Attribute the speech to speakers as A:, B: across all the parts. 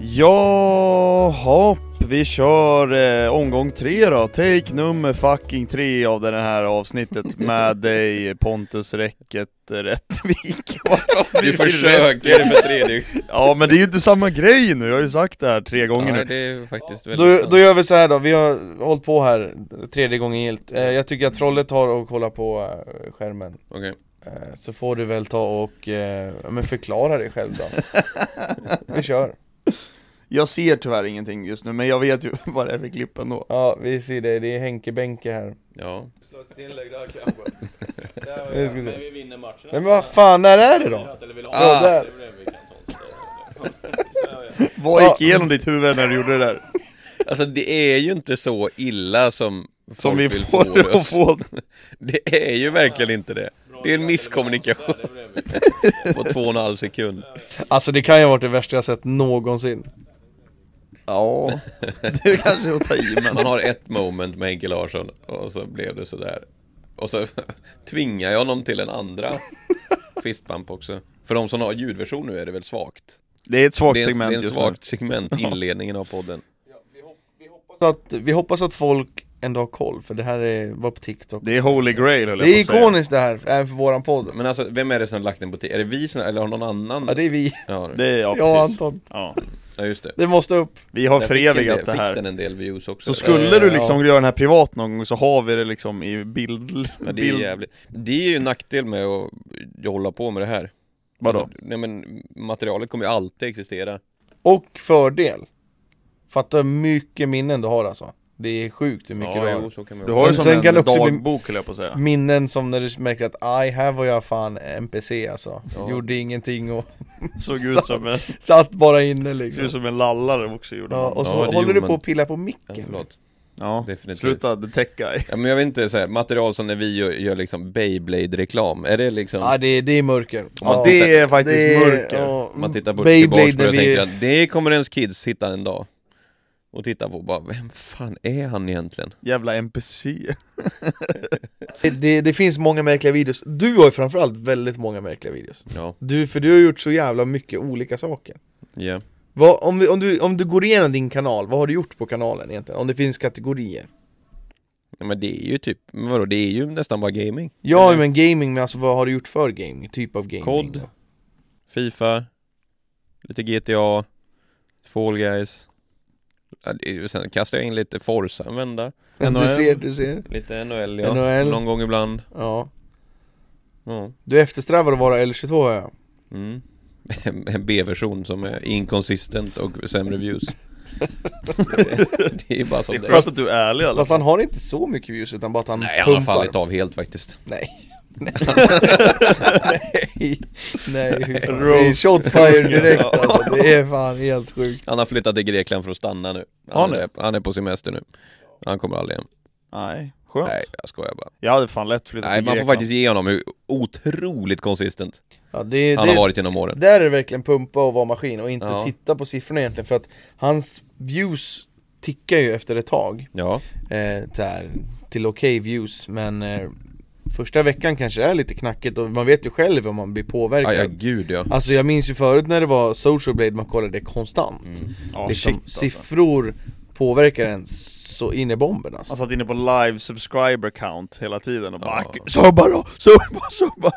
A: Ja, hopp, vi kör eh, omgång tre då, take nummer fucking tre av det här avsnittet med dig Pontus Räcket Rättvik. Varför blir
B: Du
A: vi
B: försöker
A: Rättvik?
B: för tredje
A: Ja men det är ju inte samma grej nu, jag har ju sagt det här tre gånger
B: gången. Ja,
A: nu.
B: det är faktiskt väldigt
C: Då,
B: sant.
C: då gör vi så här då, vi har hållit på här tredje gången gillt eh, Jag tycker att Trolle tar och kollar på eh, skärmen
B: Okej.
C: eh, Så får du väl ta och eh, ja, men förklara dig själv då Vi kör
A: Jag ser tyvärr ingenting just nu, men jag vet ju vad det är för klipp ändå.
C: Ja, vi ser det, det är Henke Benke här
B: Ja.
D: Slå inlägg där kanske.
C: Det ska vi se.
D: vi vinner matchen.
C: Men vad fan, när är det då?
D: Eller vill ha
B: Ah.
D: det? Det är det vi kan ta. Så, ja, ja.
A: Vad
C: Ja.
A: gick igenom ditt huvud när du gjorde det där?
B: Alltså det är ju inte så illa som folk
A: Som vi
B: vill
A: får
B: få
A: det att
B: oss.
A: få.
B: Det är ju verkligen inte det. Det är en misskommunikation
D: Det är det vi kan.
B: på två och en halv sekund.
C: Alltså det kan ju ha varit det värsta jag sett någonsin
A: Ja, det kanske är att ta i men.
B: Man har ett moment med Henke Larsson och så blev det sådär. Och så tvingar jag honom till en andra fistbump också. För de som har ljudversion nu är det väl svagt?
A: Det är ett svagt
B: Det är en, det
A: segment
B: är en
A: just
B: svagt segment, inledningen av podden.
C: Så att, vi hoppas att folk ändå har koll, för det här är, var på TikTok
A: nu. Det är holy grail höll
C: Det är
A: jag på att säga.
C: ikoniskt det här, även för våran podd
B: Men alltså, vem är det som har lagt den på t- Är det vi som, eller har någon annan?
C: Ja det är vi,
B: Ja,
A: Det är, ja,
C: jag och
A: precis.
C: Anton
A: Ja.
B: ja just det.
C: Det måste upp
A: Vi har
B: Där fick en del-
A: förevigat det
B: Fick
A: här.
B: den en del views också.
A: Så skulle
C: Eh,
A: du liksom
C: ja.
A: göra den här privat någon gång så har vi det liksom i bild...
B: ja, det, är
A: bild
B: jävligt. det är ju en nackdel med att hålla på med det här.
A: vadå?
B: Alltså, Nej men materialet kommer ju alltid existera.
C: Och fördel Fatta hur mycket minnen du har alltså Det är sjukt hur mycket
B: ja,
C: du
B: jo,
C: har
B: så kan man
A: Du
B: ju-
A: har ju
C: Sen-
A: som
C: sen kan det
A: en
C: också bli-
A: dagbok höll jag på att
B: Mm.
A: säga.
C: Minnen som när du märker att aj, här var jag fan NPC alltså
B: Ja.
C: Gjorde ingenting och
A: Såg ut som en,
C: satt bara inne
A: såg ut
C: liksom
A: som en lallare också gjorde
C: ja,
A: man.
C: Och så
B: Ja, det
C: håller
B: gjorde
C: du på
B: man.
C: och pillar på
B: Ja,
C: micken
B: förlåt.
A: Ja,
B: Definitivt.
A: sluta the tech guy.
B: Ja, men jag vet inte, så här, material som när vi gör, gör liksom Beyblade-reklam, är det liksom...
C: Ja det, är- det är mörker
A: Ja, det är faktiskt mörker.
C: ja, mm.
B: om man tittar på
C: Beyblade
B: tillbaks på det
C: när
B: och
C: vi-
B: tänker att det kommer ens kids hitta en dag. Och titta på och bara, vem fan är han egentligen?
A: Jävla NPC.
C: det, det, det finns många märkliga videos Du har ju framförallt väldigt många märkliga videos
B: Ja,
C: Du, för du har gjort så jävla mycket olika saker
B: ja.
C: Vad, om, vi, om, du, om du går igenom din kanal, vad har du gjort på kanalen egentligen? Om det finns kategorier?
B: Ja, Men det är ju typ, men vadå, det är ju nästan bara gaming.
C: Ja men gaming, men alltså vad har du gjort för gaming? Typ av gaming?
B: COD. Fifa, lite GTA, Fall Guys. Ja, det är ju- Sen kastar jag in lite Forza en vända,
C: Du ser, du ser
B: lite NHL, ja.
C: NHL.
B: någon gång ibland.
C: Ja
B: Ja.
C: Du eftersträvar att vara L22 har jag
B: Mm. En- En B-version som är inconsistent och sämre views. det är ju bara
A: Det
B: som
A: är
B: det är.
A: skönt att du är ärlig i alla
C: Fast
A: fall.
C: han har inte så mycket views utan bara att han
B: Nej, han har
C: pumpar
B: fallit av helt faktiskt.
C: Nej Nej, nej hur fan. Det är
A: Rose.
C: shots fired direkt alltså, det är fan helt sjukt
B: Han har flyttat till Grekland för att stanna nu.
A: Har
B: Han,
A: ni?
B: är, han är på semester nu. Han kommer aldrig hem.
A: Nej, skönt.
B: Nej, jag skojar bara.
A: Jag hade fan lätt flyttat
B: Nej,
A: till
B: man får
A: Grekland.
B: faktiskt ge honom hur otroligt konsistent
C: ja, det,
B: han
C: det,
B: har varit genom åren.
C: Där är det verkligen pumpa och vara maskin och inte
B: Ja.
C: titta på siffrorna egentligen för att hans views tickar ju efter ett tag
B: Ja,
C: eh, så här, till okej views men eh, första veckan kanske är lite knackigt och man vet ju själv om man blir påverkad
B: ja, ja gud ja.
C: Alltså jag minns ju förut när det var social blade man kollade konstant
B: Mm.
A: Ja,
C: liksom,
A: shit, alltså.
C: Siffror påverkar en så in i bomben alltså
A: Han satt inne på live subscriber count hela tiden och bara
B: Ja.
A: ja. Subba då! Subba, subba!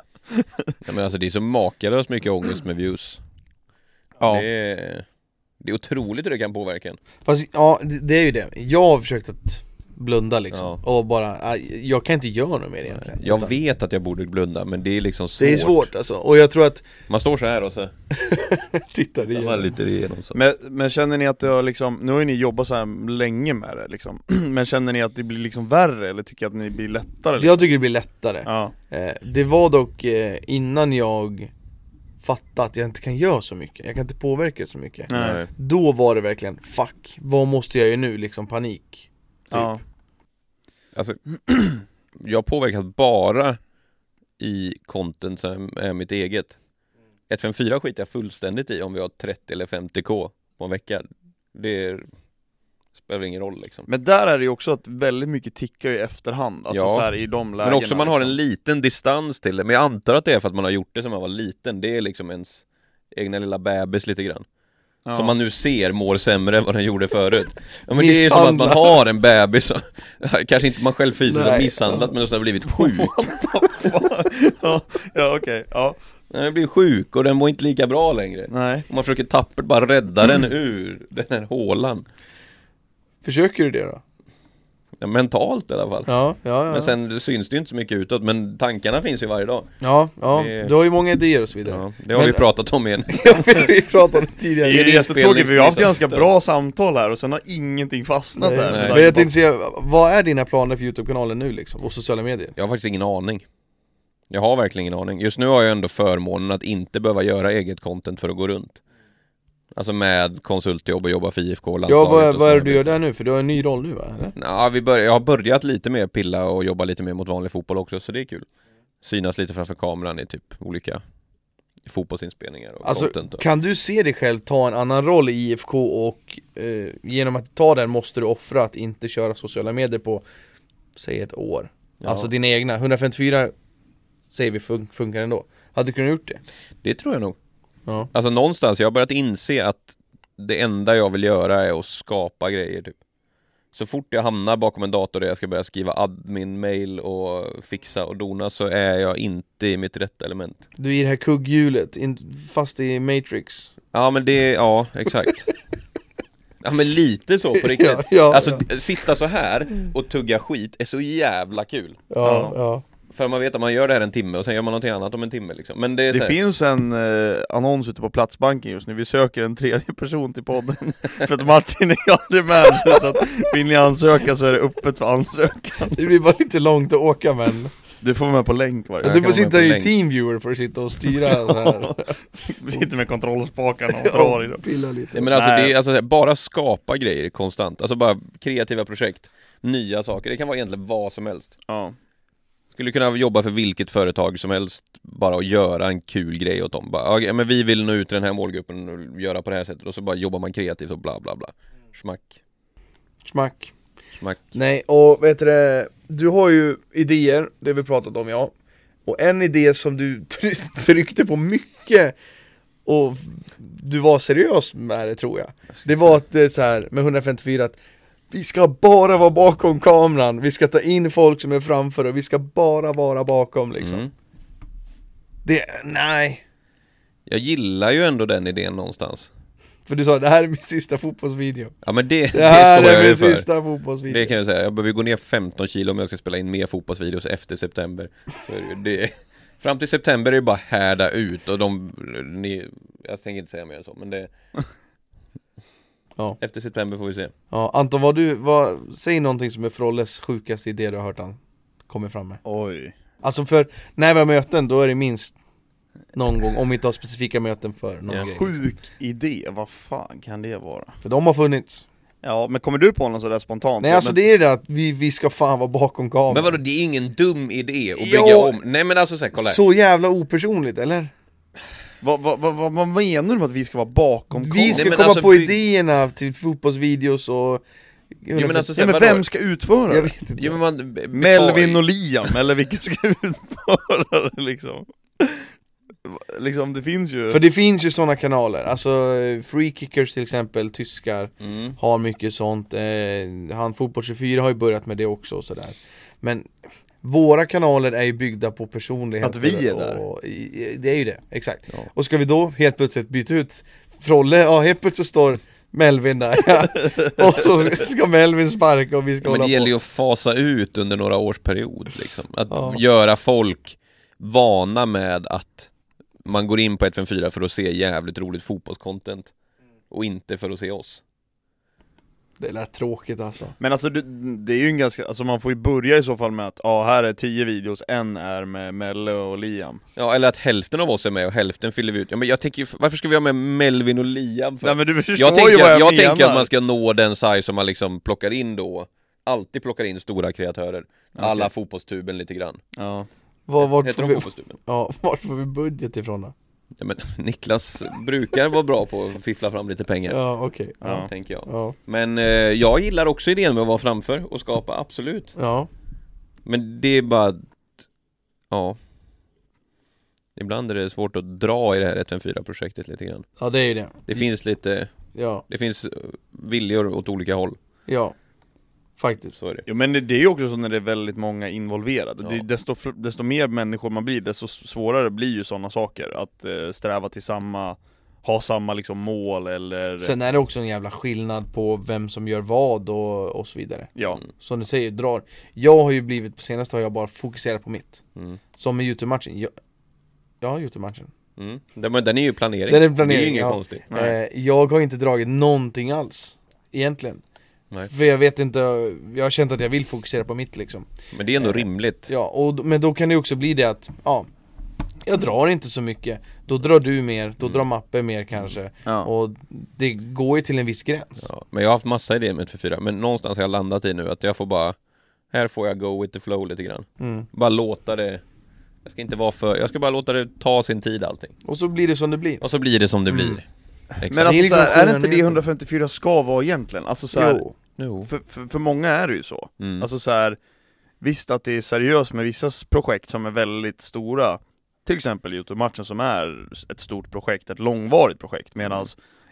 B: Ja, men alltså det är så makalöst mycket ångest med views. Det, är, det är otroligt hur det kan påverka en.
C: Fast ja, det, det är ju det. Jag har försökt att blunda liksom och bara, äh, jag kan inte göra något mer egentligen
B: Jag
C: Utan-
B: vet att jag borde blunda, men det är liksom svårt.
C: Det är svårt alltså, och jag tror att
B: Man står så här och så
C: Titta det
B: jag
C: gör
B: var
C: det.
B: lite igenom så.
A: Men, men känner ni att det har liksom, nu har ju ni jobbat så här länge med det liksom Men känner ni att det blir liksom värre eller tycker jag att ni blir lättare? Liksom?
C: Jag tycker det blir lättare
A: Ja,
C: eh, Det var dock eh, innan jag fattade att jag inte kan göra så mycket Jag kan inte påverka så mycket
A: nej,
B: Nej.
C: Då var det verkligen, fuck, vad måste jag göra nu liksom, panik
B: typ.
A: ja.
B: Alltså, jag har påverkat bara i content som är mitt eget. 154 skiter jag fullständigt i om vi har 30 eller 50k på en vecka. Det är, spelar ingen roll liksom.
A: Men där är det ju också att väldigt mycket tickar ju i efterhand, alltså
B: Ja.
A: så här i de lägena
B: Men också man har en
A: liksom.
B: liten distans till det, men jag antar att det är för att man har gjort det som man var liten, det är liksom ens egna lilla bebis lite grann
A: Ja.
B: som man nu ser mår sämre än vad den gjorde förut. Ja, men det är som att man
C: Misshandlad.
B: har en bebis, som- kanske inte man själv fysiskt har
C: Nej.
B: misshandlat men som har blivit sjuk.
A: ja, ja okej, ja.
B: Den har blivit sjuk och den mår inte lika bra längre.
A: Nej.
B: Och man försöker tappert bara rädda den
C: Mm.
B: ur den här hålan.
C: Försöker du det då?
B: Ja, mentalt i alla fall.
C: Ja, ja, ja
B: Men sen syns det ju inte så mycket utåt, men tankarna finns ju varje dag.
C: Ja, ja,
B: Det-
C: du har ju många idéer och så vidare
B: Ja, det har vi
C: Men-
B: pratat om igen.
C: vi pratade om det
A: Det
C: tidigare
A: är ju jättetråkigt, vi har haft ganska
B: inspelningstid.
A: bra samtal här och sen har ingenting fastnat
C: Nej.
A: här
B: Nej.
C: Men jag tänkte säga, vad är dina planer för Youtube-kanalen nu liksom? Och sociala medier?
B: Jag har faktiskt ingen aning. Jag har verkligen ingen aning. Just nu har jag ändå förmånen att inte behöva göra eget content för att gå runt. Alltså med konsultjobb och jobba för IFK och
C: Ja,
B: landslaget
C: vad,
B: och
C: vad är det
B: sådana
C: du gör där nu? För du har en ny roll nu va? Eller?
B: Ja, vi bör, jag har börjat lite mer pilla och jobba lite mer mot vanlig fotboll också, så det är kul. Synas lite framför kameran i typ olika fotbollsinspelningar och
C: Alltså,
B: content. Och.
C: kan du se dig själv ta en annan roll i IFK och eh, genom att ta den måste du offra att inte köra sociala medier på, säg ett år?
B: Ja.
C: Alltså dina egna, 154 säger vi fun- funkar ändå. Hade du kunnat gjort det?
B: Det tror jag nog.
C: Ja.
B: Alltså någonstans, jag har börjat inse att det enda jag vill göra är att skapa grejer typ. Så fort jag hamnar bakom en dator där jag ska börja skriva admin-mail och fixa och dona så är jag inte i mitt rätta element.
C: Du är i det här kugghjulet, in, fast i Matrix.
B: Ja men det, ja exakt. Ja men lite så på riktigt.
C: Ja, ja,
B: alltså
C: ja.
B: d- sitta så här och tugga skit är så jävla kul.
A: Ja.
C: ja.
B: För man vet att man gör det här en timme och sen gör man någonting annat om en timme liksom. Men det är
A: Det
B: så här,
A: finns en eh, annons ute på Platsbanken just nu, vi söker en tredje person till podden För att Martin är aldrig med nu, så att vill ni ansöka så är det öppet för ansökan
C: Det blir bara lite långt att åka men
A: Du får vara med på länk varje
B: Ja,
C: Du
B: kan
C: får
B: vara
C: sitta
B: med på
C: i
B: länk.
C: Teamviewer för att sitta och styra så här.
A: Vi sitter med kontrollspakarna och drar i dem
C: pilla
B: Ja,
C: lite
B: men alltså,
A: Nej.
B: det är, alltså, bara skapa grejer konstant, alltså bara kreativa projekt, nya saker, det kan vara egentligen vad som helst.
A: ja.
B: Skulle kunna jobba för vilket företag som helst, bara och göra en kul grej åt dem. Bara, "Ja, okej, men vi vill nå ut till den här målgruppen och göra på det här sättet och så bara jobbar man kreativt och bla bla bla. Schmack,
C: Smack
B: schmack.
C: Nej, och vet du det, du har ju idéer, det har vi pratat om ja Och en idé som du try- tryckte på mycket och du var seriös med det tror jag
B: Alltså,
C: Det var att det är så här med 154 att vi ska bara vara bakom kameran, vi ska ta in folk som är framför och vi ska bara vara bakom liksom
B: Mm.
C: Det, nej
B: Jag gillar ju ändå den idén någonstans.
C: För du sa det här är min sista fotbollsvideo
B: Ja men det, det,
C: Det här
B: står jag
C: är
B: ju
C: min
B: för.
C: sista fotbollsvideo
B: Det kan jag säga, jag behöver gå ner 15 kilo om jag ska spela in mer fotbollsvideos efter september Så är det, ju- det, Fram till september är det bara härda ut och de, ni, jag tänker inte säga mer än så men det
C: Ja.
B: Efter september får vi se
C: Ja, Anton, vad du, vad, säg någonting som är Frolles sjukaste idé du har hört han kommer fram med
A: Oj
C: Alltså för, när vi har möten då är det minst någon gång, om vi inte har specifika möten för någon
B: Ja.
C: grej
A: Sjuk idé, vad fan kan det vara?
C: För de har funnits
A: Ja, men kommer du på någon sådär spontant?
C: Nej alltså det är ju det att vi, vi ska fan vara bakom kameran
B: Men vadå, det är ingen dum idé att bygga
C: Ja.
B: om Nej men alltså såhär, kolla här.
C: Så jävla opersonligt eller?
A: Vad, vad, vad, vad, vad menar du med att vi ska vara bakom
C: Vi
A: kameran?
C: ska
B: Nej, men
C: komma
B: alltså,
C: på
B: vi-
C: idéerna till fotbollsvideos och...
B: Jo men alltså
A: Ja,
B: såhär,
A: men
B: vadå?
A: vem ska utföra
C: Jag
A: det?
C: vet inte
B: Jo men man, b-
A: Melvin
B: betal-
A: och Liam, eller vilka ska utföra det liksom? Liksom det finns ju...
C: För det finns ju sådana kanaler, alltså eh, Free Kickers till exempel, tyskar
B: mm.
C: Har mycket sånt, eh, han Fotboll24 har ju börjat med det också och sådär Men våra kanaler är ju byggda på personligheter
A: Att vi är där.
C: och, i- i- Det är ju det, exakt
B: Ja.
C: Och ska vi då helt plötsligt byta ut Frolle, ja helt plötsligt står Melvin där ja. Och så ska Melvin sparka och vi ska
B: Ja, Men
C: hålla
B: det gäller
C: på
B: ju att fasa ut under några års period liksom. Att
C: Ja.
B: göra folk vana med att man går in på 154 för att se jävligt roligt fotbollscontent
A: Mm.
B: och inte för att se oss.
C: Det lät tråkigt alltså
A: Men alltså det, det är ju en ganska, alltså man får ju börja i så fall med att ja, här är tio videos, en är med Melle och Liam
B: Ja, eller att hälften av oss är med och hälften fyller vi ut. Ja, men jag tänker ju, varför ska vi ha med Melvin och Liam för?
A: Nej men du förstår
B: jag tänker,
A: ju vad jag,
B: jag
A: menar!
B: tänker att man ska nå den size som man liksom plockar in då. Alltid plockar in stora kreatörer. Alla fotbollstuben lite grann.
A: Ja.
C: Var, vart,
B: Heter
C: får
B: de
C: vi,
B: fotbollstuben?
C: ja, vart får vi budget ifrån då?
B: Ja, men Niklas brukar vara bra på att fiffla fram lite pengar.
C: Ja okej,
A: Ja.
B: Tänker jag.
C: ja,
B: Men eh, jag gillar också idén med att vara framför och skapa, absolut
C: ja
B: Men det är bara att, ja Ibland är det svårt att dra i det här 154 projektet lite grann
C: Ja det är ju det
B: Det finns lite
C: Ja,
B: Det finns eh, viljor åt olika håll,
C: ja. Faktiskt.
B: så är det
A: Jo men det- det är ju också så när det är väldigt många involverade,
B: Ja.
A: det, desto, fl- desto mer människor man blir, desto s- svårare blir ju sådana saker Att eh, sträva till samma, ha samma liksom mål eller
C: Sen är det också en jävla skillnad på vem som gör vad och, och så vidare.
A: Ja,
B: Mm.
C: Som du säger, drar. Jag har ju blivit, på senaste har jag bara fokuserat på mitt.
B: mm.
C: Som med Youtube-matchen. Jag, ja, Youtube-matchen.
B: Mm. Den, men den är ju planering,
C: Den är planering,
B: det är ju inget
C: ja.
B: konstigt
A: Nej.
C: Eh, jag har inte dragit någonting alls. Egentligen.
B: Nej.
C: För jag vet inte, jag har känt att jag vill fokusera på mitt liksom.
B: Men det är ändå
C: Eh,
B: rimligt
C: Ja, och, d- men då kan det ju också bli det att, ja Jag drar inte så mycket, då drar du mer, då
B: Mm.
C: drar Mappe mer kanske
A: ja.
C: Och det går ju till en viss gräns
B: Ja, men jag har haft massa idéer med 1-4 men någonstans har jag landat i nu att jag får bara Här får jag go with the flow lite grann
C: mm.
B: Bara låta det Jag ska inte vara för, jag ska bara låta det ta sin tid allting
C: Och så blir det som det blir
B: Och så blir det som det
C: Mm.
B: blir Exakt
A: Men
C: är
A: alltså så
C: liksom
A: här, är det inte det
C: skönheten.
A: 154 ska vara egentligen? Alltså så här,
C: Jo,
B: Jo.
A: för, för, för många är det ju så
B: Mm.
A: Alltså så här, visst att det är seriöst med vissa s- projekt som är väldigt stora Till exempel Youtube-matchen som är s- ett stort projekt, ett långvarigt projekt Medan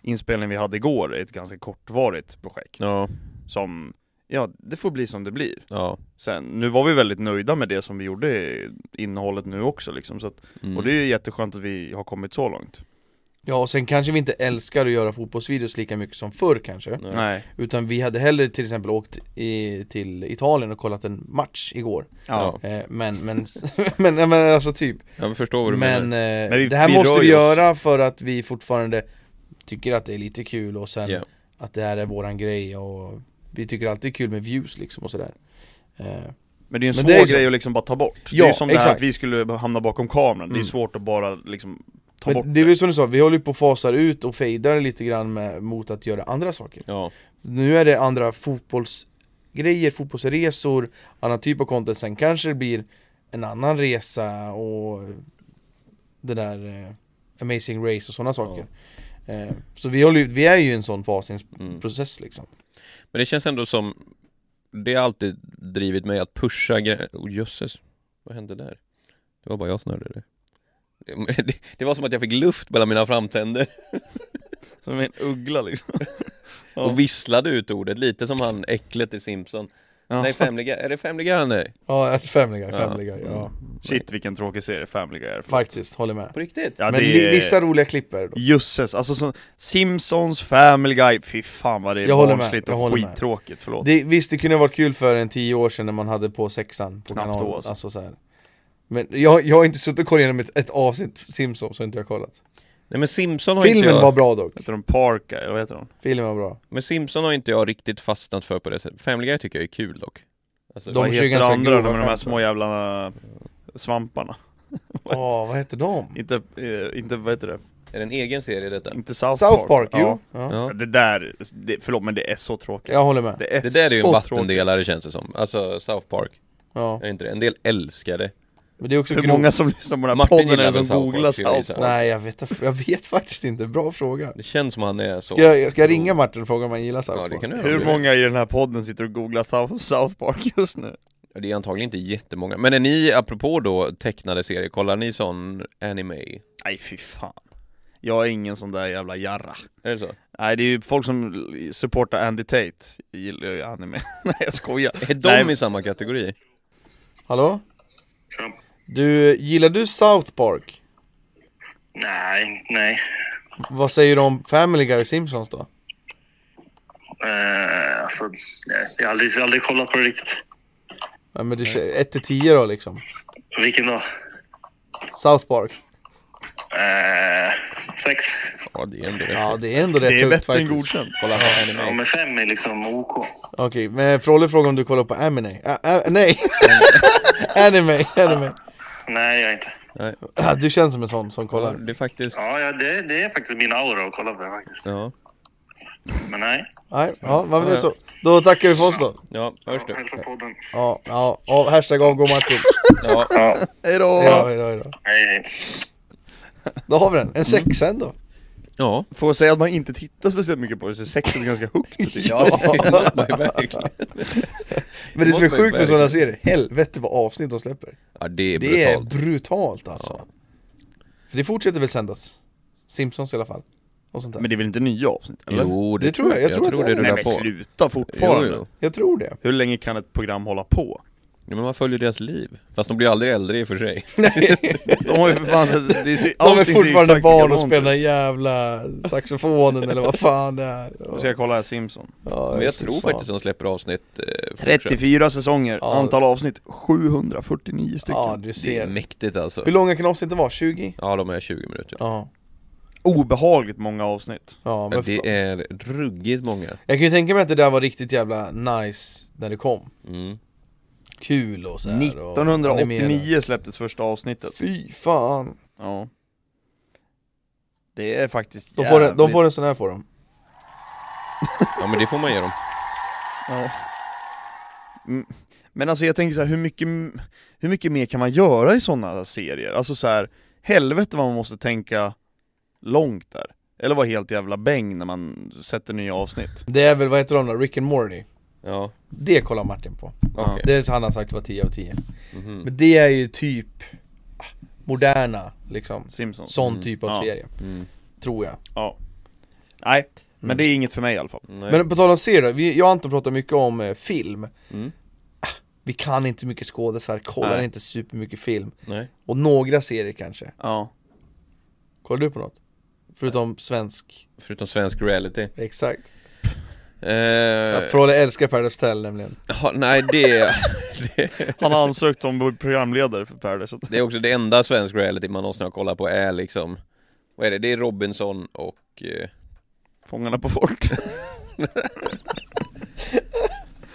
A: inspelningen vi hade igår är ett ganska kortvarigt projekt
B: Ja,
A: Som, ja det får bli som det blir
B: ja
A: Sen, nu var vi väldigt nöjda med det som vi gjorde i innehållet nu också liksom, så att,
B: mm.
A: Och det är ju jätteskönt att vi har kommit så långt
C: Ja, och sen kanske vi inte älskar att göra fotbollsvideos lika mycket som förr
A: Mm.
C: kanske
B: Nej.
A: Nej
C: Utan vi hade hellre till exempel åkt i, till Italien och kollat en match igår
A: Ja,
B: Ja.
C: eh, Men, men, men, men alltså typ
B: Jag förstår vad du
C: Men,
B: menar
C: eh,
A: Men vi-
C: det här
A: vi
C: måste
A: rör
C: vi
A: ju oss.
C: göra för att vi fortfarande tycker att det är lite kul och sen
B: Ja.
C: att det här är våran grej och vi tycker alltid det är kul med views liksom och sådär eh,
A: men det är ju en
C: Men
A: svår
C: det är ju så.
A: grej att liksom bara ta bort Det är
C: Ja,
A: ju som det här
C: exakt.
A: att vi skulle hamna bakom kameran, det är ju
C: Mm.
A: svårt att bara liksom ta bort
C: Men det är väl som du sa, vi håller ju på och fasar ut och fejdar lite grann med, mot att göra andra saker
B: Ja,
C: Nu är det andra fotbollsgrejer, fotbollsresor, annan typ av content Sen kanske det blir en annan resa och det där eh, Amazing Race och sådana saker eh, Så vi, håller, ju- vi är ju i en sån fas, i en
B: mm.
C: process liksom
B: men det känns ändå som Det har alltid drivit mig att pusha grä... oh, jösses Vad hände där? Det var bara jag som hörde det det, det var som att jag fick luft mellan mina framtänder
A: Som en uggla liksom Ja.
B: och visslade ut ordet, lite som han äcklet i Simpson
A: Ja.
B: Nej, Family Guy, är det Family Guy han är?
C: Ja, ett Family Guy,
B: Ja.
C: Family Guy, ja.
A: Mm. Shit vilken tråkig serie Family Guy är
C: Faktiskt, håller med.
B: På riktigt?
A: Ja
C: Men
A: det
C: li-
A: är...
C: vissa roliga klipp är det då.
A: Jösses, alltså som Simpsons, Family Guy, fy fan vad det är
C: Jag håller med,
A: barnsligt
C: jag
A: och
C: håller med.
A: skittråkigt, förlåt
C: Det, visst, det kunde ha varit kul för en tio år sedan när man hade på sexan på
A: Knappt
C: kanalen.
A: då, alltså.
C: Alltså, så här. Men jag, jag har inte suttit och kollat igenom ett, ett avsnitt Simpsons, så inte jag kollat.
B: Nej men Simpson har inte
C: Filmen
B: jag,
C: var bra dock.
A: Heter de Park Guy, eller vad heter de?
C: Filmen var bra.
B: men Simpson har inte jag riktigt fastnat för på det sättet Family Guy tycker jag är kul dock alltså,
C: De
A: vad
C: kör
A: heter
C: ganska
A: andra
C: grova
A: med de här
C: skämt,
A: små jävla eh, svamparna?
C: Åh, vad hette de?
A: Inte, eh, inte, vad heter det?
B: Är det en egen serie detta?
A: Inte South,
C: South Park,
A: Ja.
C: jo. Ja.
B: Ja.
A: Det där, det, förlåt men det är så tråkigt
C: Jag håller med.
B: Det där är ju en
A: så
B: vattendelare känns det som, alltså South Park,
C: Ja.
B: är det inte det? En del älskar det
C: Men det är också
A: tråkigt. Hur
C: grovt.
A: många som lyssnar på den här
B: Martin
A: podden
B: gillar
A: är det
B: väl
A: som
B: South
A: googlar
B: Park, skulle jag
A: South
B: gissa.
A: Park?
C: Nej, jag vet, jag vet faktiskt inte. Bra fråga.
B: Det känns som han är så
C: Ska jag, ska jag ringa Martin och fråga om han gillar South
B: Ja
C: Park?
B: det kan du göra om
A: Hur
B: du
A: många i den här podden sitter och googlar South, South Park just nu?
B: vill. Ja, Det är antagligen inte jättemånga, men är ni, apropå då tecknade serier, kollar ni sån anime?
A: Nej fy fan Jag är ingen sån där jävla jarra
B: Är det så?
A: Nej det är ju folk som supportar Andy Tate, gillar ju anime Nej jag skojar
B: Är de
A: Nej.
B: i samma kategori?
C: Hallå? Du, gillar du South Park?
E: Nej, nej.
C: Vad säger du om Family Guy och Simpsons då?
E: Eh, alltså, nej. Jag har aldrig, aldrig kollat på det riktigt.
C: Ja, men du, 1 till 10 då liksom?
E: Vilken då?
C: South Park?
E: Eh, sex?
B: Ja det är ändå rätt
C: Ja, det är ändå rätt
A: Det är
C: högt
A: bättre än
C: faktiskt.
A: godkänt
B: Kolla på
E: Ja,
B: anime.
E: men fem är liksom OK.
C: Okej, men Frolle frågar om du kollar på anime? Ä- ä- nej! anime, anime.
E: Nej, jag inte.
C: Ah, Du känns som en sån som
B: Ja,
C: kollar.
B: det är faktiskt,
E: Ja, ja det, det är faktiskt min aura att kolla på det faktiskt.
B: ja,
E: Men nej.
C: Nej, ja, vad var det så. Då tackar vi för oss då.
B: ja, hörs du?
E: Hälsa podden.
C: Ja, ja, ja hashtag avgå Martin.
B: Ja,
E: Ja,
A: Hejdå!
C: Hejdå, hejdå, hejdå.
E: hej, hej.
C: Då har vi den, en sexa ändå.
B: ja,
A: Får jag säga att man inte tittar speciellt mycket på det så är sexet ganska högt tycker jag
B: ja, det måste man ju verkligen.
C: Men det som
B: måste man ju
C: är sjukt med sådana serier, helvete vad avsnitt de släpper.
B: Ja det är
C: Det är
B: brutalt.
C: brutalt alltså. För det fortsätter väl sändas? Simpsons i alla fall. och sånt där.
A: Men det är väl inte nya avsnitt? Eller?
B: Jo,
C: Det tror jag, jag tror att det
B: det
A: Nej
C: är-
B: rullar
A: men
B: på.
A: sluta fortfarande!
B: Jo, jo.
C: Jag tror det.
A: Hur länge kan ett program hålla på?
B: Ja, men man följer deras liv. Fast de blir aldrig äldre i och för sig.
A: De har ju för fan sett, det ser,
C: De är
A: allting ser ju
C: fortfarande
A: exakt
C: barn och
A: likadant
C: spelar den
A: ut.
C: jävla saxofonen eller vad fan det är.
A: Nu ska jag kolla här Simpson
C: Ja,
B: Men jag
C: fy
B: tror
C: fan.
B: faktiskt de släpper avsnitt eh, fortsatt.
A: 34 säsonger,
C: Ja.
A: antal avsnitt 749 stycken
C: Ja, du
B: Det är
C: ser.
B: mäktigt alltså.
C: Hur långa kan avsnitten vara? 20?
B: Ja, de är 20 minuter.
C: Ja.
A: Obehagligt många avsnitt
C: Ja, men fan.
B: Det är ruggigt många.
C: Jag kan ju tänka mig att det där var riktigt jävla nice när det kom.
B: Mm.
C: Kul och så här och animerat.
A: 1989 släpptes första avsnittet
C: Fy fan.
A: Ja Det är faktiskt
C: De får, en, de
A: jävligt-
C: får en sån här får de.
B: Ja, men det får man ge dem.
A: Ja. Mm. Men alltså jag tänker så här, hur mycket, hur mycket mer kan man göra i sådana serier? Alltså så här, helvete vad man måste tänka långt där. Eller vara helt jävla bäng när man sätter nya avsnitt.
C: Det är väl, vad heter de då? Rick and Morty.
B: Ja,
C: Det kollar Martin på.
B: okej.
C: Det är så han har sagt var 10 av 10.
B: Mhm.
C: Men det är ju typ ah, moderna liksom.
A: Simpsons.
C: Sån typ av
A: Ja.
C: serie.
B: Mm.
C: Tror jag.
A: Ja. Nej, men
C: Mm.
A: det är inget för mig i alla fall.
B: Nej.
C: Men på tal om serier då, vi, jag och Anton pratar mycket om eh, film.
B: Mm.
C: Ah, Vi kan inte mycket skådisar, kollar
A: Nej.
C: inte supermycket film.
B: Nej.
C: Och några serier kanske.
A: Ja.
C: Kollar du på något? Förutom svensk.
B: Förutom svensk reality.
C: Exakt.
B: Eh,
C: Jag Frålle älskar Paradise Hotel nämligen.
B: ja, nej, det, det,
A: Han har ansökt om programledare för Paradise Hotel.
B: det är också det enda svensk reality man någonsin har kollat på är liksom Vad är det? Det är Robinson och eh,
A: Fångarna på fort.
B: Alltså-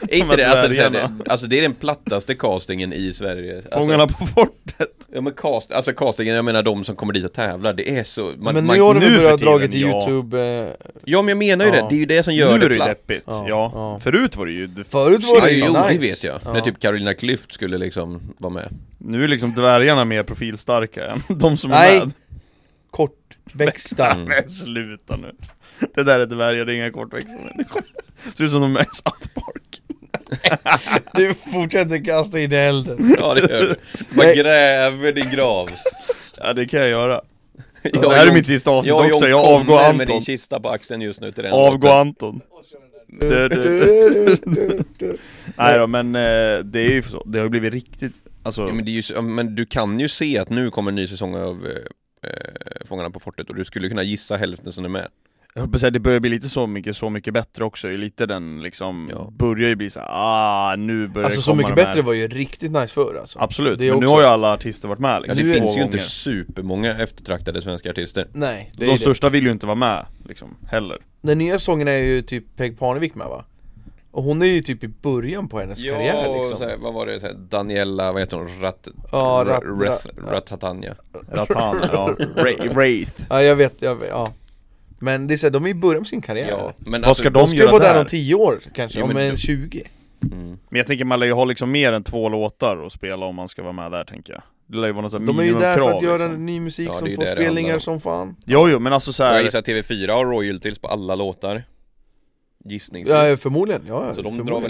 B: Är inte
A: Men
B: det, alltså, det, är så här,
A: dvärgarna.
B: det, alltså det är den plattaste castingen i Sverige alltså,
A: Fångarna på fortet.
B: Ja men cast, alltså castingen, jag menar de som kommer dit och tävlar, det är så man,
C: men
B: man,
C: nu har de
A: nu
C: väl
A: för
C: börjat
A: tiden,
C: dragit i
A: ja.
C: youtube eh,
B: Ja men jag menar ju
C: Ja.
B: det, det är ju det som
A: Nu
B: gör
A: är
B: det
A: det
B: platt
A: deppigt.
C: Ja,
A: Ja.
C: ja.
A: Förut var det ju...
C: Förut var
B: Ja,
C: det ju
B: jo,
C: nice.
B: det vet jag.
C: Ja.
B: När typ Carolina Klüft skulle liksom vara med.
A: Nu är liksom dvärgarna mer profilstarka än de som är
C: Nej.
A: med.
C: Kortväxta.
B: Mm.
A: Men sluta nu. Det där är dvärgar, det är inga kortväxta människor. Ser ut som de är i South Park.
C: Du fortsätter kasta in i elden.
B: Ja det gör det. Man
C: Nej.
B: gräver din grav.
A: Ja det kan jag göra.
B: Jag
A: Alltså,
B: och
A: det här är
B: John-
A: mitt sista avsnitt
B: jag och
A: också,
B: John
A: jag avgår
B: kommer med din
A: Anton.
B: kista på axeln just nu till den
A: Avgå
B: låten.
A: Anton. Du, du. Nej då men eh, det är ju så, det har ju blivit riktigt, alltså
B: Ja, men, det är ju, så- ja, men du kan ju se att nu kommer en ny säsong av eh, eh, Fångarna på fortet och du skulle kunna gissa hälften som är med.
A: jag hoppas att det börjar bli lite så mycket, så mycket bättre också, Det är lite den liksom,
B: Ja.
A: börjar ju bli så här, ah nu börjar
C: Alltså
A: det
C: så
A: komma
C: mycket
A: de här.
C: bättre var ju riktigt nice förr alltså.
A: Absolut,
C: Det är
A: men nu
C: också-
A: har ju alla artister varit med
B: Ja,
A: liksom, två
B: det finns ju inte
A: gånger.
B: supermånga eftertraktade svenska artister.
C: Nej, det är
A: De
C: ju det.
A: största vill ju inte vara med liksom, heller.
C: Den nya sången är ju typ Peg Parnevik med va? Och hon är ju typ i början på hennes karriär
B: och
C: liksom.
B: så här, vad var det, så här, Daniela, vad heter hon, Rat...
C: Ja, Rat-
B: Ra- Rath- Ratatania.
A: Ratan, ja. Ra- Wraith.
C: Ja jag vet, jag vet, ja. Men det är så här, de är i början på sin karriär.
B: Ja, men alltså,
A: Vad ska
C: De
A: De
C: skulle
A: gör
C: vara
A: det
C: där
A: här.
C: om 10 år kanske,
B: Jo,
C: om
B: men
C: en
B: du-
C: 20.
B: Mm.
A: Men jag tänker man lär ju ha liksom mer än två låtar att spela om man ska vara med där tänker jag Det lär ju vara något sånt
C: De är ju där för att göra
A: liksom.
C: ny musik
B: Ja, det är
C: som
B: ju
C: får
B: det det handlar
C: spelningar
B: om.
C: som fan.
A: Jo jo men alltså så
B: Och Jag
A: här.
B: gissar att TV4 har royalties på alla låtar. Gissningsvis.
C: Ja förmodligen, ja ja,
B: så de drar
C: förmodligen.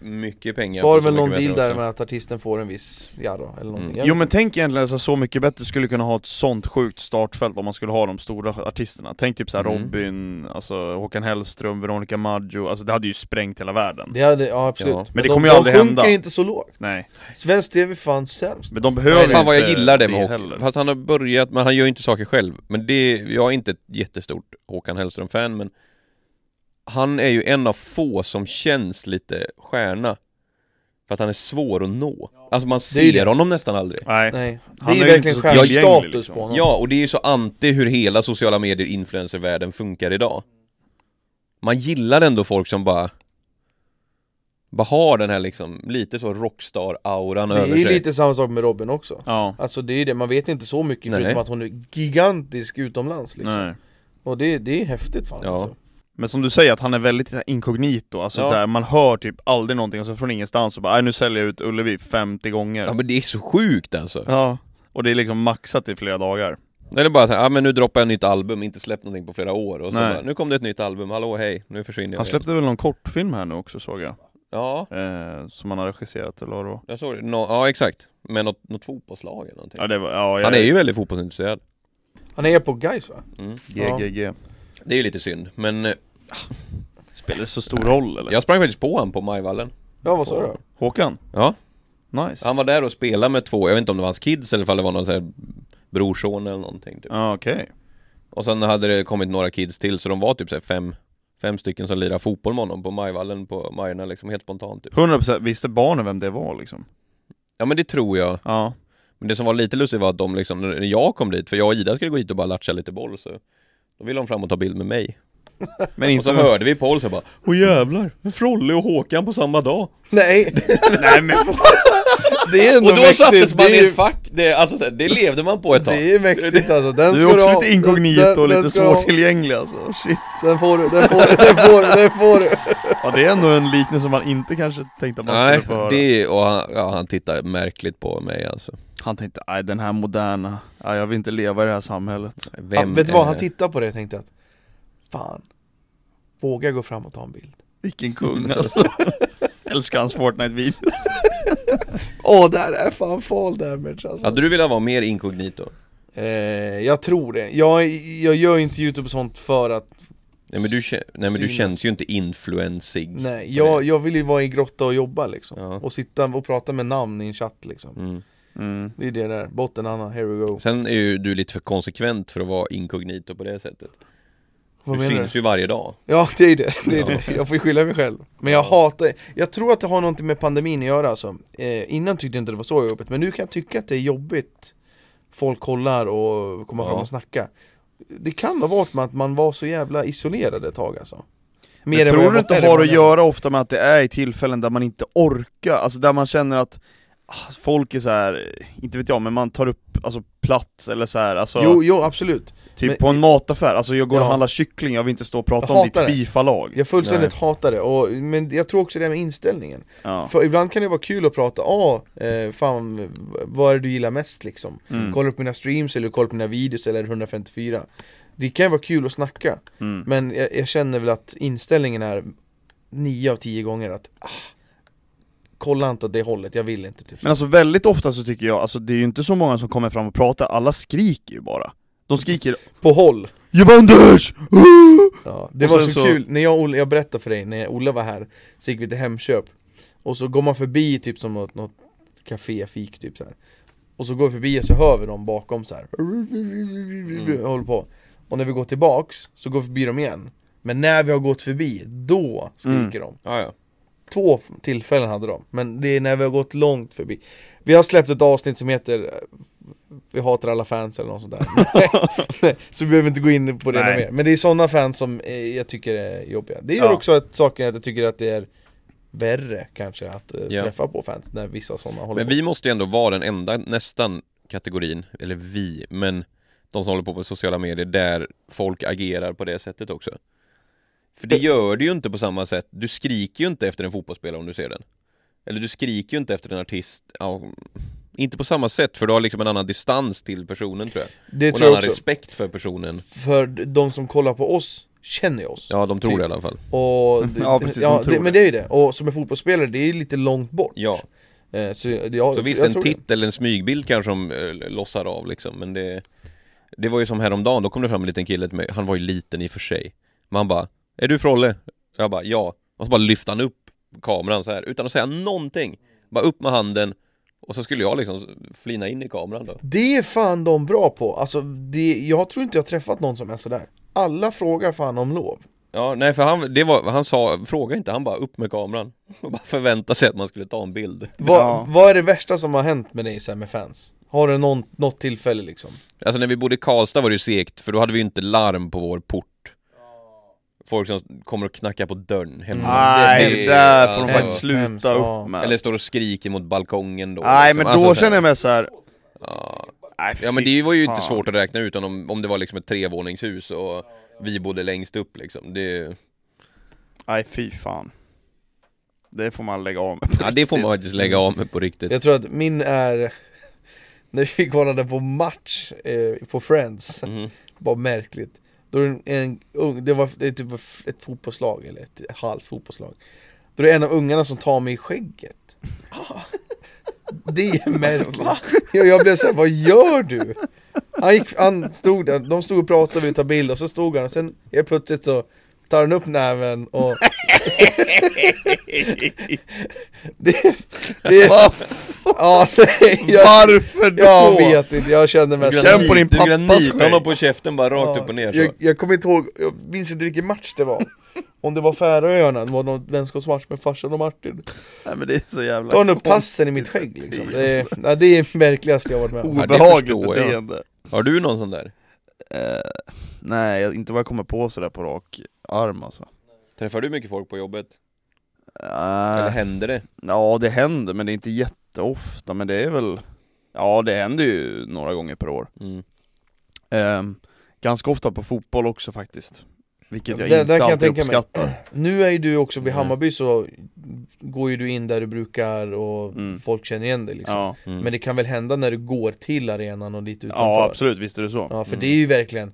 B: väl in mycket pengar.
C: Så
B: på
C: har det väl
B: mycket
C: någon deal
B: vänner
C: där
B: också.
C: med att artisten får en viss jarra eller någonting
B: Mm.
C: Jag
A: Jo
C: vet
A: men tänk egentligen så, så mycket bättre skulle kunna ha ett sånt sjukt startfält om man skulle ha de stora artisterna Tänk typ så här
B: Mm.
A: Robin, alltså Håkan Hellström, Veronica Maggio, alltså det hade ju sprängt hela världen
C: Det hade, ja absolut.
B: Ja. Men
A: det
C: de-
A: kommer ju aldrig
C: De
A: hända.
C: sjunker inte så lågt.
A: Nej,
C: Svensk TV är fan sämst.
A: men de behöver ju
B: Fan vad jag
A: inte
B: gillar det med
A: heller.
B: Håkan, fast han har börjat, men han gör ju inte saker själv Men det, jag är inte ett jättestort Håkan Hellström-fan men Han är ju en av få som känns lite stjärna För att han är svår att nå Alltså man
C: Det är ju
B: ser
C: det.
B: honom nästan aldrig
A: Nej,
C: Nej, det
A: Han
C: är ju
A: är ju
C: verkligen
A: inte så tillgänglig,
C: stjärnstatus
A: liksom.
C: på honom.
B: Ja, och det är ju så anti hur hela sociala medier influencervärlden funkar idag Man gillar ändå folk som bara Bara har den här liksom, lite så rockstar-auran
C: det är
B: över
C: ju
B: sig
C: lite samma sak med Robin också.
A: ja,
C: Alltså det är ju det, man vet inte så mycket
B: Nej.
C: förutom att hon är gigantisk utomlands liksom.
A: nej
C: Och det, det är häftigt fan
B: Ja.
C: alltså.
A: Men som du säger, att han är väldigt så här inkognito, alltså
B: Ja.
A: så här, man hör typ aldrig någonting och så från ingenstans så bara "Aj, nu säljer jag ut Ullevi 50 gånger
B: Ja men det är så sjukt alltså
A: Ja, och det är liksom maxat i flera dagar
B: Eller bara såhär, ah, men nu droppar jag ett nytt album, inte släppt någonting på flera år och så
A: Nej.
B: bara, nu kom det ett nytt album, hallå hej, nu försvinner jag
A: Han
B: igen."
A: släppte väl någon kortfilm här nu också såg jag,
B: Ja,
A: eh, som han har regisserat eller vad det var
B: jag såg det, Nå- ja exakt, med något, något fotbollslag eller någonting
A: Ja det var, ja jag,
B: Han är ju väldigt fotbollsintresserad
C: Han är på guys va?
B: mm.
A: GGG
B: Det är ju lite synd, men eh,
A: Spelar det så stor roll eller?
B: jag sprang faktiskt på han på Majvallen
C: Ja vad sa du?
A: Håkan?
B: Ja,
A: Nice
B: han var där och spelade med två, jag vet inte om det var hans kids eller om det var någon sån här brorson eller någonting typ.
A: Ja okej
B: Och sen hade det kommit några kids till så de var typ så här fem, fem stycken som lirade fotboll med honom på Majvallen på Majorna liksom helt spontant typ.
A: 100% visste barnen vem det var liksom?
B: Ja men det tror jag.
A: Ja
B: Men det som var lite lustigt var att de liksom, när jag kom dit, för jag och Ida skulle gå dit och bara latcha lite boll så Då ville de fram och ta bild med mig.
A: Men
B: Och så
A: inte
B: hörde vi Paul så bara Åh jävlar, Frolle och Håkan på samma dag!
C: Nej!
A: Nej men
C: Det är ändå
B: Och då
C: mäktigt.
B: sattes man
C: det, är
B: i
C: ju-
B: ett fack, det, alltså, så här, det levde man på ett tag.
C: det är mäktigt alltså, den
A: Du
C: ska
A: är också
C: ha.
A: lite inkognito
C: Den-
A: och
C: den
A: lite
C: ska du ha.
A: svårtillgänglig alltså, shit
C: Den får du, den får du, den får du, den får du!
A: Ja det är ändå en liknelse man inte kanske tänkte att man
B: Nej,
A: skulle få höra
B: det, och han, ja, han tittar märkligt på mig alltså.
A: Han tänkte, nej den här moderna, nej, jag vill inte leva i det här samhället
B: Vem
C: Han, vet du vad,
B: är-
C: han tittade på det och tänkte att Fan Våga gå fram och ta en bild
A: Vilken kung alltså Älskar hans Fortnite-videos
C: Åh, där är fan fall damage alltså
B: Hade du velat vara mer inkognito?
C: eh, Jag tror det, jag, jag gör inte youtube och sånt för att
B: Nej men du, kä- nej, men du
C: Synas.
B: känns ju inte influensig.
C: Nej, jag, jag vill ju vara i en grotta och jobba liksom
B: Ja.
C: Och sitta och prata med namn i en chatt liksom
B: Mm.
A: mm.
C: Det är det där, botten Anna, here we go
B: Sen är ju du lite för konsekvent för att vara inkognito på det sättet.
C: Vad
B: du
C: menar
B: syns ju varje dag.
C: Ja det är det, det, är det. jag får ju skylla mig själv Men jag hatar, jag tror att det har någonting med pandemin att göra alltså. eh, Innan tyckte jag inte det var så jobbigt, men nu kan jag tycka att det är jobbigt Folk kollar och kommer
B: Ja.
C: fram och snackar Det kan ha varit med att man var så jävla isolerad ett tag alltså Mer
A: Men
C: än vad
A: tror
C: jag
A: du
C: var-
A: inte
C: eller
A: har
C: vad
A: att
C: jag-
A: göra ofta med att det är i tillfällen där man inte orkar, alltså där man känner att ah, Folk är så här, inte vet jag, men man tar upp alltså, plats eller så här, alltså
C: Jo, jo absolut
A: Typ
C: men-
A: på en mataffär, alltså jag går och
C: Ja.
A: handlar kyckling, jag vill inte stå och prata
C: Jag
A: om ditt
C: hatar det.
A: Fifa-lag
C: Jag fullständigt hatar det, och, men jag tror också det här med inställningen
A: ja.
C: För ibland kan det vara kul att prata, ja, eh, fan vad är det du gillar mest liksom?
A: Mm.
C: Kolla upp mina streams eller kolla upp mina videos eller 154 Det kan ju vara kul att snacka,
A: Mm.
C: men jag, jag känner väl att inställningen är 9 av 10 gånger att ah, Kolla inte åt det hållet, jag vill inte typ
A: Men alltså väldigt ofta så tycker jag, alltså det är ju inte så många som kommer fram och pratar, alla skriker ju bara De skriker
C: På håll!
A: Jevanders!
C: Ja, det
A: Och
C: var
A: sen
C: så,
A: så-
C: kul, när jag, och Olle- jag berättade för dig, när Olle var här Så gick vi till Hemköp Och så går man förbi typ som något, något café, fik typ så här. Och så går vi förbi och så hör vi dem bakom så här.
A: Mm.
C: Håller på Och när vi går tillbaks så går vi förbi dem igen Men när vi har gått förbi, då
A: Mm.
C: skriker de
B: Ja, ja.
C: Två tillfällen hade de, men det är när vi har gått långt förbi Vi har släppt ett avsnitt som heter eh, Vi hatar alla fans eller något sånt där Nej, Så vi behöver inte gå in på det
A: Nej.
C: något mer Men det är sådana fans som eh, jag tycker är jobbiga Det gör
A: Ja.
C: också att saken att jag tycker att det är Värre kanske att eh,
B: Ja.
C: träffa på fans när vissa sådana håller
B: Men vi måste ju ändå vara den enda nästan kategorin, eller vi, men de som håller på på sociala medier där folk agerar på det sättet också. För det gör du ju inte på samma sätt, du skriker ju inte efter en fotbollsspelare om du ser den. Eller du skriker ju inte efter en artist, ja, inte på samma sätt för du har liksom en annan distans till personen tror jag.
C: på Det
B: och
C: tror
B: en
C: jag
B: annan
C: också,
B: respekt för personen.
C: för de som kollar på oss känner ju oss
B: Ja, de tror
C: Typ.
B: det i alla fall.
C: Och det,
A: Ja, precis, de
C: ja,
A: tror
C: det, men det är ju det, och som en fotbollsspelare det är ju lite långt bort
B: Ja,
C: Eh, Så, det-
B: så
C: jag,
B: visst
C: jag
B: en
C: tror det.
B: titt eller en smygbild kanske de eh, lossar av liksom, men det Det var ju som häromdagen, då kom det fram en liten kille till mig, han var ju liten i och för sig Men han bara Är du Frolle? Jag bara ja Och så bara lyfte han upp kameran så här utan att säga någonting Bara upp med handen Och så skulle jag liksom flina in i kameran då
C: Det är fan de bra på, alltså det, jag tror inte jag har träffat någon som är sådär Alla frågar fan om lov
B: Ja, nej för han, det var, han sa, fråga inte, han bara upp med kameran Och bara förväntade sig att man skulle ta en bild
C: Va,
A: Ja.
C: Vad är det värsta som har hänt med dig så här med fans? Har du någon, något tillfälle liksom?
B: Alltså när vi bodde i Karlstad var det ju segt, för då hade vi ju inte larm på vår port Folk som kommer och knackar på dörren hemma
A: Nej,
B: Det-
A: det där får de faktiskt
B: alltså,
C: Hemskt, hemskt,
A: sluta
C: ja.
A: upp med
B: Eller står och skriker mot balkongen då
A: Nej
B: liksom.
A: men då
B: Alltså, så här-
A: känner jag mig såhär,
B: ja.
A: nej
B: ja men
A: fy
B: det var ju inte
A: fan.
B: svårt att räkna ut om, om det var liksom ett trevåningshus och vi bodde längst upp liksom Det,
A: Nej fy fan Det får man lägga av med
B: ja, det får man faktiskt lägga av med på riktigt
C: Jag tror att min är När vi kollade på match eh, på Friends
B: Mhm.
C: Vad märkligt Då är det en, en ung, det var det är typ ett fotbollslag eller ett halvt fotbollslag Då är det en av ungarna som tar mig i skägget Det är märkligt jag, jag blev såhär, vad gör du? Han, gick, han stod där, de stod och pratade och ville ta bild och så stod han och sen helt plötsligt så tar han upp näven och det, det, ja, nej, jag,
A: Varför då?
C: jag vet inte, jag kände mest
A: Känn på din
B: Du
A: pappas
B: granit honom
A: skägg!
B: på käften bara rakt upp och ner så
C: jag, jag kommer inte ihåg, jag minns inte vilken match det var Om det var Färöarna, det var någon vänskapsmatch med farsan och Martin
A: Nej men det är så jävla
C: Då han upp tassen i mitt skägg liksom Det är, nej, det är det märkligaste jag har varit med
B: Oh.
C: om
A: obehagligt
B: förstår jag.
A: beteende
B: Har du någon sån där?
A: eh, Nej, jag- inte vad jag kommer på sådär på rak arm alltså
B: Träffar du mycket folk på jobbet? Eller
A: eh,
B: händer det?
A: Ja det händer, men det är inte jätteofta, men det är väl Ja det händer ju några gånger per år
B: Mm.
A: Ehm, Ganska ofta på fotboll också faktiskt Vilket jag
C: Det-
A: inte
C: där kan jag
A: alltid
C: tänka mig.
A: uppskattar
C: Nu är ju du också vid
B: Mm.
C: Hammarby så går ju du in där du brukar och
A: Mm.
C: folk känner igen dig liksom
A: Ja,
B: Mm.
C: Men det kan väl hända när du går till arenan och dit utanför?
A: ja absolut, visst är det så
C: Ja, för
B: Mm.
C: det är ju verkligen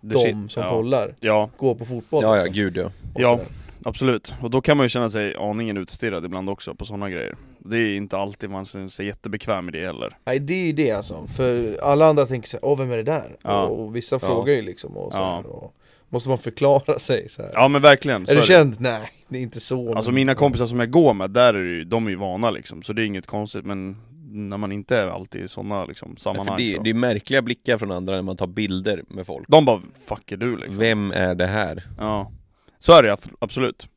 A: Det
C: de
A: shit-
C: som
A: ja.
C: kollar,
A: Ja,
C: går på fotboll
B: Ja, ja,
C: liksom.
B: gud ja.
C: Och
A: Ja.
C: sådär.
A: absolut, och då kan man ju känna sig aningen utstirrad ibland också på sådana grejer Det är inte alltid man känner sig jättebekväm i det heller
C: Nej det är ju det alltså, för alla andra tänker såhär, åh vem är det där?
A: Ja.
C: Och, och vissa
B: Ja.
C: frågar ju liksom och, så
A: Ja.
C: och Måste man förklara sig så här.
A: Ja men verkligen, så
C: Är
A: är
C: du
A: det.
C: känd? Nej, det är inte så
A: Alltså
C: men-
A: mina kompisar som jag går med, där är det ju, de är ju vana liksom, så det är inget konstigt men när man inte är alltid i sådana liksom,
B: Nej, för
A: sammanhang
B: det,
A: så.
B: det är märkliga blickar från andra när man tar bilder med folk.
A: De bara 'fuck är du' liksom
B: Vem är det här?
A: Ja, så är det ab- absolut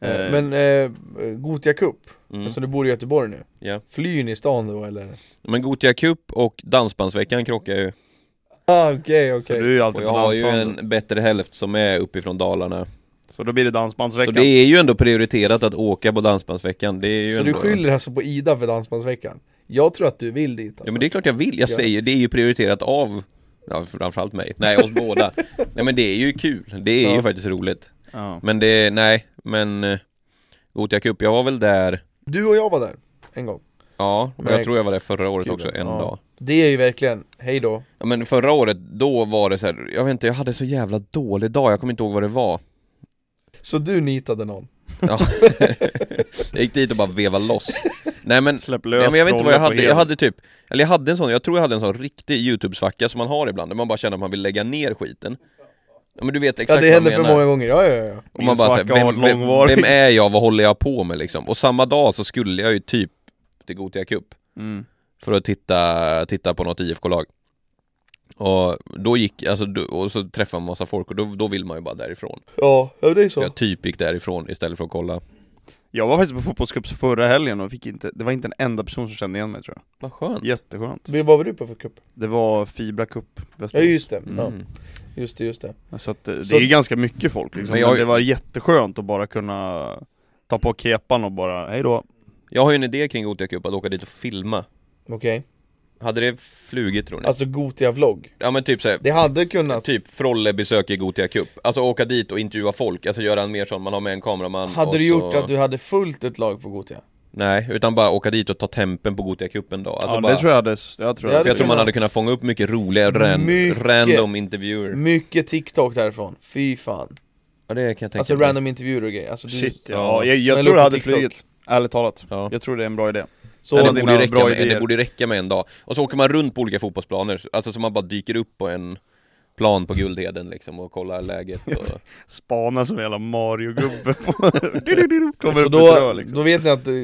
C: Eh,
A: Eh,
C: Men eh, Gotia Cup,
B: Mm.
C: eftersom du bor i Göteborg nu
B: Ja.
C: Flyr ni stan då eller?
B: Men Gothia Cup och Dansbandsveckan krockar ju.
C: Ah, okej
A: Så
C: okej
A: du är ju
B: Och
A: alltid
B: jag
A: på
B: har ju
A: dansbanden,
B: en bättre hälft som är uppifrån Dalarna.
A: så då blir det
B: Så
A: dansbandsveckan
B: det är ju ändå prioriterat att åka på Dansbandsveckan. Det är ju
C: Så du
B: ändå...
C: skyller alltså på Ida för Dansbandsveckan? Jag tror att du vill dit alltså.
B: Ja men det är klart jag vill, jag
C: Ja.
B: säger det är ju prioriterat av Ja, framförallt mig. Nej, oss båda. Nej men det är ju kul, det är
A: Ja.
B: ju faktiskt roligt.
A: ja.
B: Men det, nej, men eh, Gothia Cup, jag var väl där,
C: Du och jag var där, en gång
B: ja, men
C: Nej.
B: jag tror jag var där förra året
C: Kul.
B: också, en
C: Ja.
B: dag.
C: Det är ju verkligen, hej då
B: Ja men förra året, då var det så här, jag vet inte, jag hade så jävla dålig dag, jag kommer inte ihåg vad det var.
C: Så du nitade någon?
B: Ja. jag gick dit och bara vevade loss. Nej men,
A: Släpp lös
B: nej, men jag vet inte vad jag
A: trollen på
B: hade, jag
A: heden.
B: hade typ, eller jag hade en sån, jag tror jag hade en sån riktig YouTube-svacka som man har ibland, där man bara känner att man vill lägga ner skiten. Ja men du vet
C: Ja
B: exakt
C: det
B: vad
C: händer
B: jag
C: för
B: menar.
C: många gånger, ja ja ja
B: Och man bara såhär,
A: Min svacka har
B: vem,
A: varit
B: vem,
A: långvarig.
B: vem är jag, vad håller jag på med liksom? Och samma dag så skulle jag ju typ till Gothia Cup
A: Mm.
B: för att titta, titta på något IFK-lag. Och då gick, alltså, då- och så träffade man massa folk och då, då vill man ju bara därifrån.
C: Ja, ja det är
B: Så
C: så
B: jag typ gick därifrån istället för att kolla.
A: Jag var faktiskt på fotbollscups förra helgen och fick inte, det var inte en enda person som kände igen mig tror
B: Vad skönt.
A: jag Jätteskönt
C: Vad var du på för cup?
A: Det var Fibra Cup,
C: Ja
A: Västerås
C: just det, ja,
B: Mm.
C: just det, just det
A: Så att det,
C: Så-
A: det är ju ganska mycket folk liksom,
B: Men
A: men,
B: jag-
A: det var jätteskönt att bara kunna ta på kepan och bara, hej
B: Alltså
A: då.
B: Jag har ju en idé kring Gothia Cup, att åka dit och filma.
C: Okej,
B: Hade det flugit tror ni?
C: alltså Gotia vlogg
B: ja men typ såhär,
C: Det hade kunnat,
B: typ Frolle besöker Gothia Cup. Alltså åka dit och intervjua folk, alltså göra en mer sån, man har med en kameraman och
C: hade du gjort
B: så...
C: att du hade fullt ett lag på Gotia?
B: Nej, utan bara åka dit och ta tempen på Gothia Cup en dag. Alltså
A: ja,
B: bara,
A: det tror jag hade, jag tror
C: Det
A: jag
B: för
A: hade
B: jag tror man
A: kunnat.
B: hade kunnat fånga upp mycket roliga ran,
C: Mycket.
B: random intervjuer.
C: Mycket TikTok därifrån, fy fan
B: Ja, det kan jag tänka
C: Alltså
B: mig.
C: random intervjuer och grejer, alltså du,
A: Shit ja,
B: Ja,
A: jag,
C: smäll
A: jag tror
C: upp
A: det
C: på
A: hade
C: TikTok.
A: flugit, ärligt talat
B: Ja.
A: Jag tror det är en bra idé
C: så,
B: Ja,
A: Eller
B: det,
A: dina
B: borde ju räcka
A: bra
B: med, det
A: idéer.
B: borde ju räcka med en dag. Och så åker man runt på olika fotbollsplaner, alltså så man bara dyker upp på en plan på Guldheden liksom och kollar läget och...
A: Spana som en jävla Mario-gubbe på... Du-du-du-du, Kommer
C: så
A: upp ett
C: då,
A: rör liksom
C: då vet ni att eh,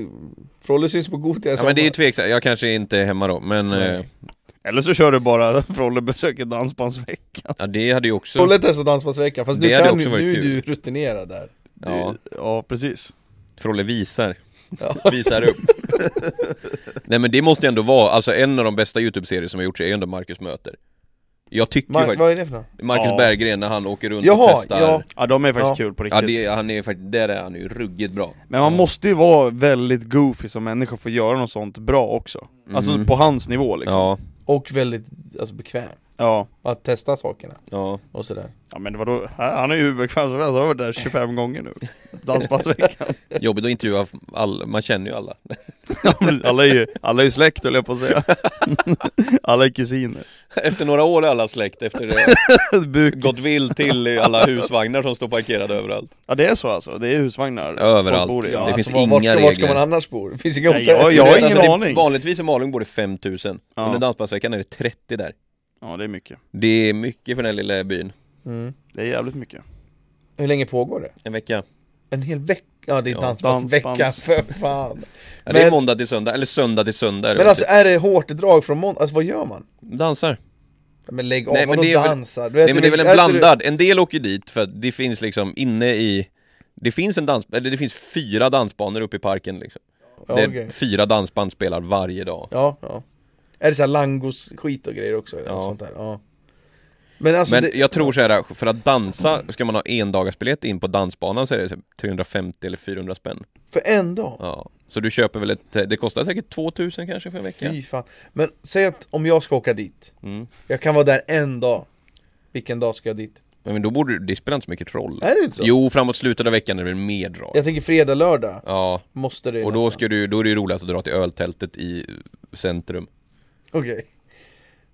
C: Frolle syns på Gotia i
B: Ja men det är typ ju
C: sommar.
B: tveksamt, jag kanske inte är hemma då men...
C: Nej.
B: eh,
A: Eller så kör du bara Frolle besöker dansbandsveckan
B: Ja det hade ju också...
C: Frolle testar dansbandsveckan, fast
B: Det
C: nu,
B: hade
C: kan,
B: också
C: nu,
B: varit
C: nu är
B: kul.
C: du rutinerad där
B: Ja,
A: Det- ja precis
B: Frolle visar Visar upp Nej men det måste ju ändå vara, alltså en av de bästa YouTube-serier som har gjorts är ju ändå Marcus möter Jag tycker
C: Ma-
B: faktiskt,
C: Vad är det för något?
B: Marcus
A: Ja.
B: Berggren när han åker runt och
C: Jaha,
B: testar
C: ja.
A: Ja de är faktiskt
C: Ja.
A: kul på
B: Ja
A: riktigt
B: det, han är faktiskt, där är han ju ruggigt bra
A: Men man måste ju vara väldigt goofy som människa för att göra något sånt bra också Alltså
B: Mm.
A: på hans nivå liksom
B: Ja,
C: Och väldigt alltså, bekväm
A: ja.
C: att testa sakerna
B: ja
C: och sådär
A: Ja men vadå, han är ju hur bekväm som helst, han har varit där 25 gånger nu Dansbandsveckan
B: Jobbigt att intervjua alla, man känner ju alla
A: Ja, men alla är ju, alla är ju släkt höll jag på att säga Alla är kusiner
B: Efter några år är alla släkt efter det
A: Buk.
B: gått vill till i alla husvagnar som står parkerade överallt
A: Ja det är så alltså, det är husvagnar
B: Överallt.
A: Folk bor i.
B: Ja, det
A: Ja.
B: finns
C: Alltså, var- vart,
B: inga
C: ska- Vart ska
B: regler.
C: man annars bo? Det finns inga
A: Nej,
C: hotell.
A: jag- jag har ingen
B: det är-
A: aning.
B: Alltså, typ Vanligtvis i Malung bor det 5000
A: Ja.
B: Under dansbandsveckan är det 30 där
A: ja det är mycket
B: Det är mycket för den här lilla byn
C: Mm.
A: Det är jävligt mycket
C: Hur länge pågår det?
B: En vecka
C: En hel vecka? Ja det är
B: Ja,
C: dansbandsvecka,
A: dansbands-
C: för fan
B: ja, Det är
C: Men-
B: måndag till söndag, eller söndag till söndag är det
C: Men
B: väl
C: alltså är det hårt drag från måndag? Alltså vad gör man?
B: typ. Dansar
C: Men lägg av,
B: Nej, men
C: vadå
B: det är väl-
C: dansar? Du
B: Nej men det är väl en
C: äter du-
B: blandad, en del åker dit för att det finns liksom inne i Det finns en dans, eller det finns fyra dansbanor uppe i parken liksom
C: Ja,
B: det är
C: okej.
B: Fyra dansband spelar varje dag
C: ja, ja. Är det såhär langos-skit och grejer också?
B: Ja.
C: Ja. Sånt där? ja. Men alltså
B: Men
C: det, Mm.
B: jag tror så här, för att dansa ska man ha endagarsbiljett in på dansbanan så är det så här 350 eller 400 spänn
C: för en dag?
B: Ja, så du köper väl ett, det kostar säkert 2000 kanske för en vecka?
C: Fy fan. Men säg att om jag ska åka dit,
B: Mm.
C: jag kan vara där en dag Vilken dag ska jag dit?
B: Men då borde det spelar inte så mycket roll
C: Är det inte så?
B: Jo, framåt slutet av veckan är det väl mer drag
C: Jag tänker fredag, lördag,
B: Ja,
C: måste det
B: och då,
C: nästan.
B: ska du, då är det ju roligt att dra till öltältet i centrum
C: Okej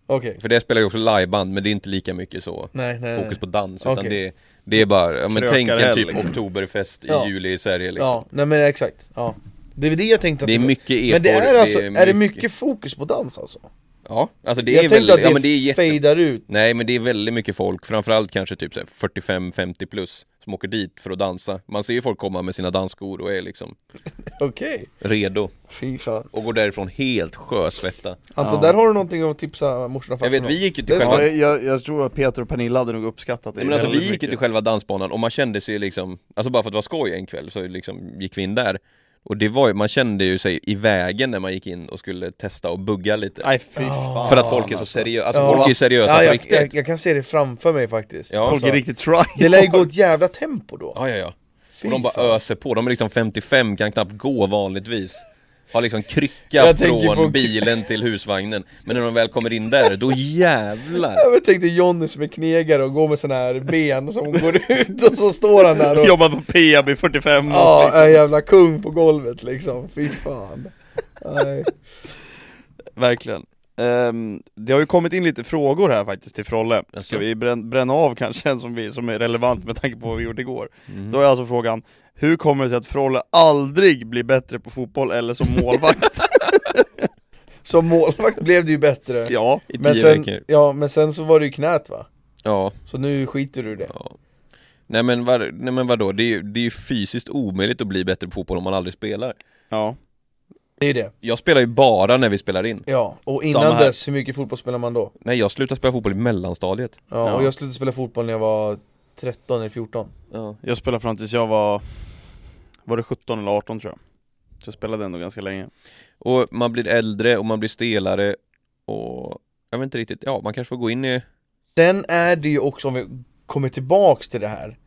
C: Okej,
B: För det spelar ju också liveband, men det är inte lika mycket så
C: nej nej, nej
B: Fokus på dans, utan
C: Okej.
B: det, det är bara, ja, men tänk en
A: Krökarhelg,
B: typ
A: liksom.
B: oktoberfest i
C: Ja.
B: juli i Sverige liksom
C: Ja, nej men exakt, ja Det är väl det jag tänkte att
B: Det är mycket epor,
C: Men det är alltså, är det
B: mycket-
C: mycket fokus på dans alltså?
B: Ja, alltså det
C: jag
B: är
C: tänkte
B: väl,
C: att det,
B: ja men det är jätte
C: fejdar ut
B: Nej men det är väldigt mycket folk, framförallt kanske typ så här 45-50 plus som åker dit för att dansa. Man ser ju folk komma med sina dansskor och är liksom
C: Okej,
B: redo
C: fy fan
B: och går därifrån helt sjösvetta.
C: Anton,
A: Ja.
C: där har du någonting att tipsa morsan och
B: Jag vet,
C: farsan
B: vi
C: om.
B: gick ju till
C: Det är
B: själva,
A: ja,
B: nej,
A: jag, jag tror att Peter och Pernilla hade nog uppskattat det
B: men alltså, vi
A: väldigt
B: gick ju till
A: mycket.
B: själva dansbanan och man kände sig liksom, alltså bara för att det var skoj en kväll så liksom gick vi in där. Och det var ju, man kände ju sig i vägen när man gick in och skulle testa och bugga lite.
A: Nej fy fan
B: för att folk är så seriösa, alltså
C: Ja.
B: folk är ju seriösa
C: ja,
B: på
C: jag,
B: riktigt.
C: jag, jag kan se det framför mig faktiskt
B: Ja.
A: Folk är riktigt try
C: Det lär ju gå ett jävla tempo då
B: Ja, ja, ja.
C: Fy
B: Och de bara
C: fan.
B: öser på, de är liksom 55, kan knappt gå vanligtvis Har liksom krycka
C: Jag tänker på-
B: från bilen till husvagnen Men när de väl kommer in där, då jävlar!
C: Jag tänkte Jonny som är knegare och går med sån här ben som går ut och så står han där och
A: Jobbar på Peab i 45 år
C: Ja,
A: liksom.
C: en jävla kung på golvet liksom, fy fan Nej.
A: Verkligen Ehm, Det har ju kommit in lite frågor här faktiskt till Frolle
B: Jaså?
A: Ska vi brän, bränna av kanske en som, vi, som är relevant med tanke på vad vi gjort igår
B: Mm.
A: Då är alltså frågan Hur kommer det sig att Frolle aldrig blir bättre på fotboll eller som målvakt?
C: Som målvakt blev det ju bättre
A: ja
B: I tio
C: men sen,
B: veckor
C: ja, men sen så var det ju knät va?
B: Ja,
C: Så nu skiter du i det
B: ja Nej men, var, nej, men vadå, det är, ju- det är ju fysiskt omöjligt att bli bättre på fotboll om man aldrig spelar
A: Ja
C: Det är det
B: Jag spelar ju bara när vi spelar in
C: Ja, och
B: Samma
C: innan
B: här.
C: dess, hur mycket fotboll spelar man då?
B: Nej jag slutade spela fotboll i mellanstadiet
C: Ja,
A: Ja.
C: och jag slutade spela fotboll när jag var 13 eller 14
B: Ja,
A: Jag spelade fram tills jag var Var det 17 eller 18 tror jag Så jag spelade ändå ganska länge
B: Och man blir äldre och man blir stelare och jag vet inte riktigt, ja man kanske får gå in i
C: Sen är det ju också, om vi kommer tillbaks till det här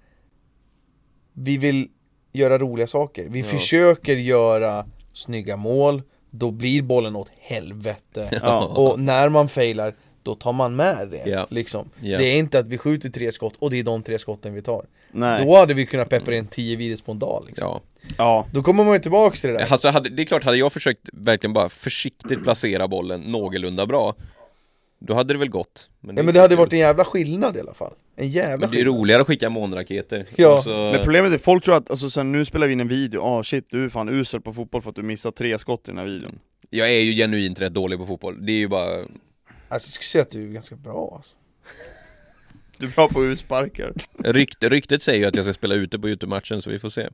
C: Vi vill göra roliga saker, vi försöker göra snygga mål Då blir bollen åt helvete
A: Ja.
C: Och när man failar, då tar man med det
B: Ja.
C: liksom
B: Ja.
C: Det är inte att vi skjuter tre skott och det är de tre skotten vi tar
A: Nej,
C: Då hade vi kunnat peppra in 10 videos på en dag liksom.
B: Ja,
A: ja
C: Då kommer man ju tillbaks till det där
B: Alltså hade, det är klart, hade jag försökt verkligen bara försiktigt placera bollen någorlunda bra Då hade det väl gått Men
C: Ja men det hade varit en jävla skillnad i alla fall En jävla
B: Men det är
C: skillnad
B: roligare att skicka månraketer Alltså,
C: Ja.
B: Och så-
A: Men problemet är, folk tror att, alltså sen nu spelar vi in en video, ah shit du är fan usel på fotboll för att du missar tre skott i den här videon
B: Jag är ju genuint rätt dålig på fotboll Det är ju bara
C: Alltså jag skulle säga att du är ganska bra alltså.
A: Du är bra på utsparkar
B: Rykt, Ryktet säger ju att jag ska spela ute på Youtube-matchen så vi får se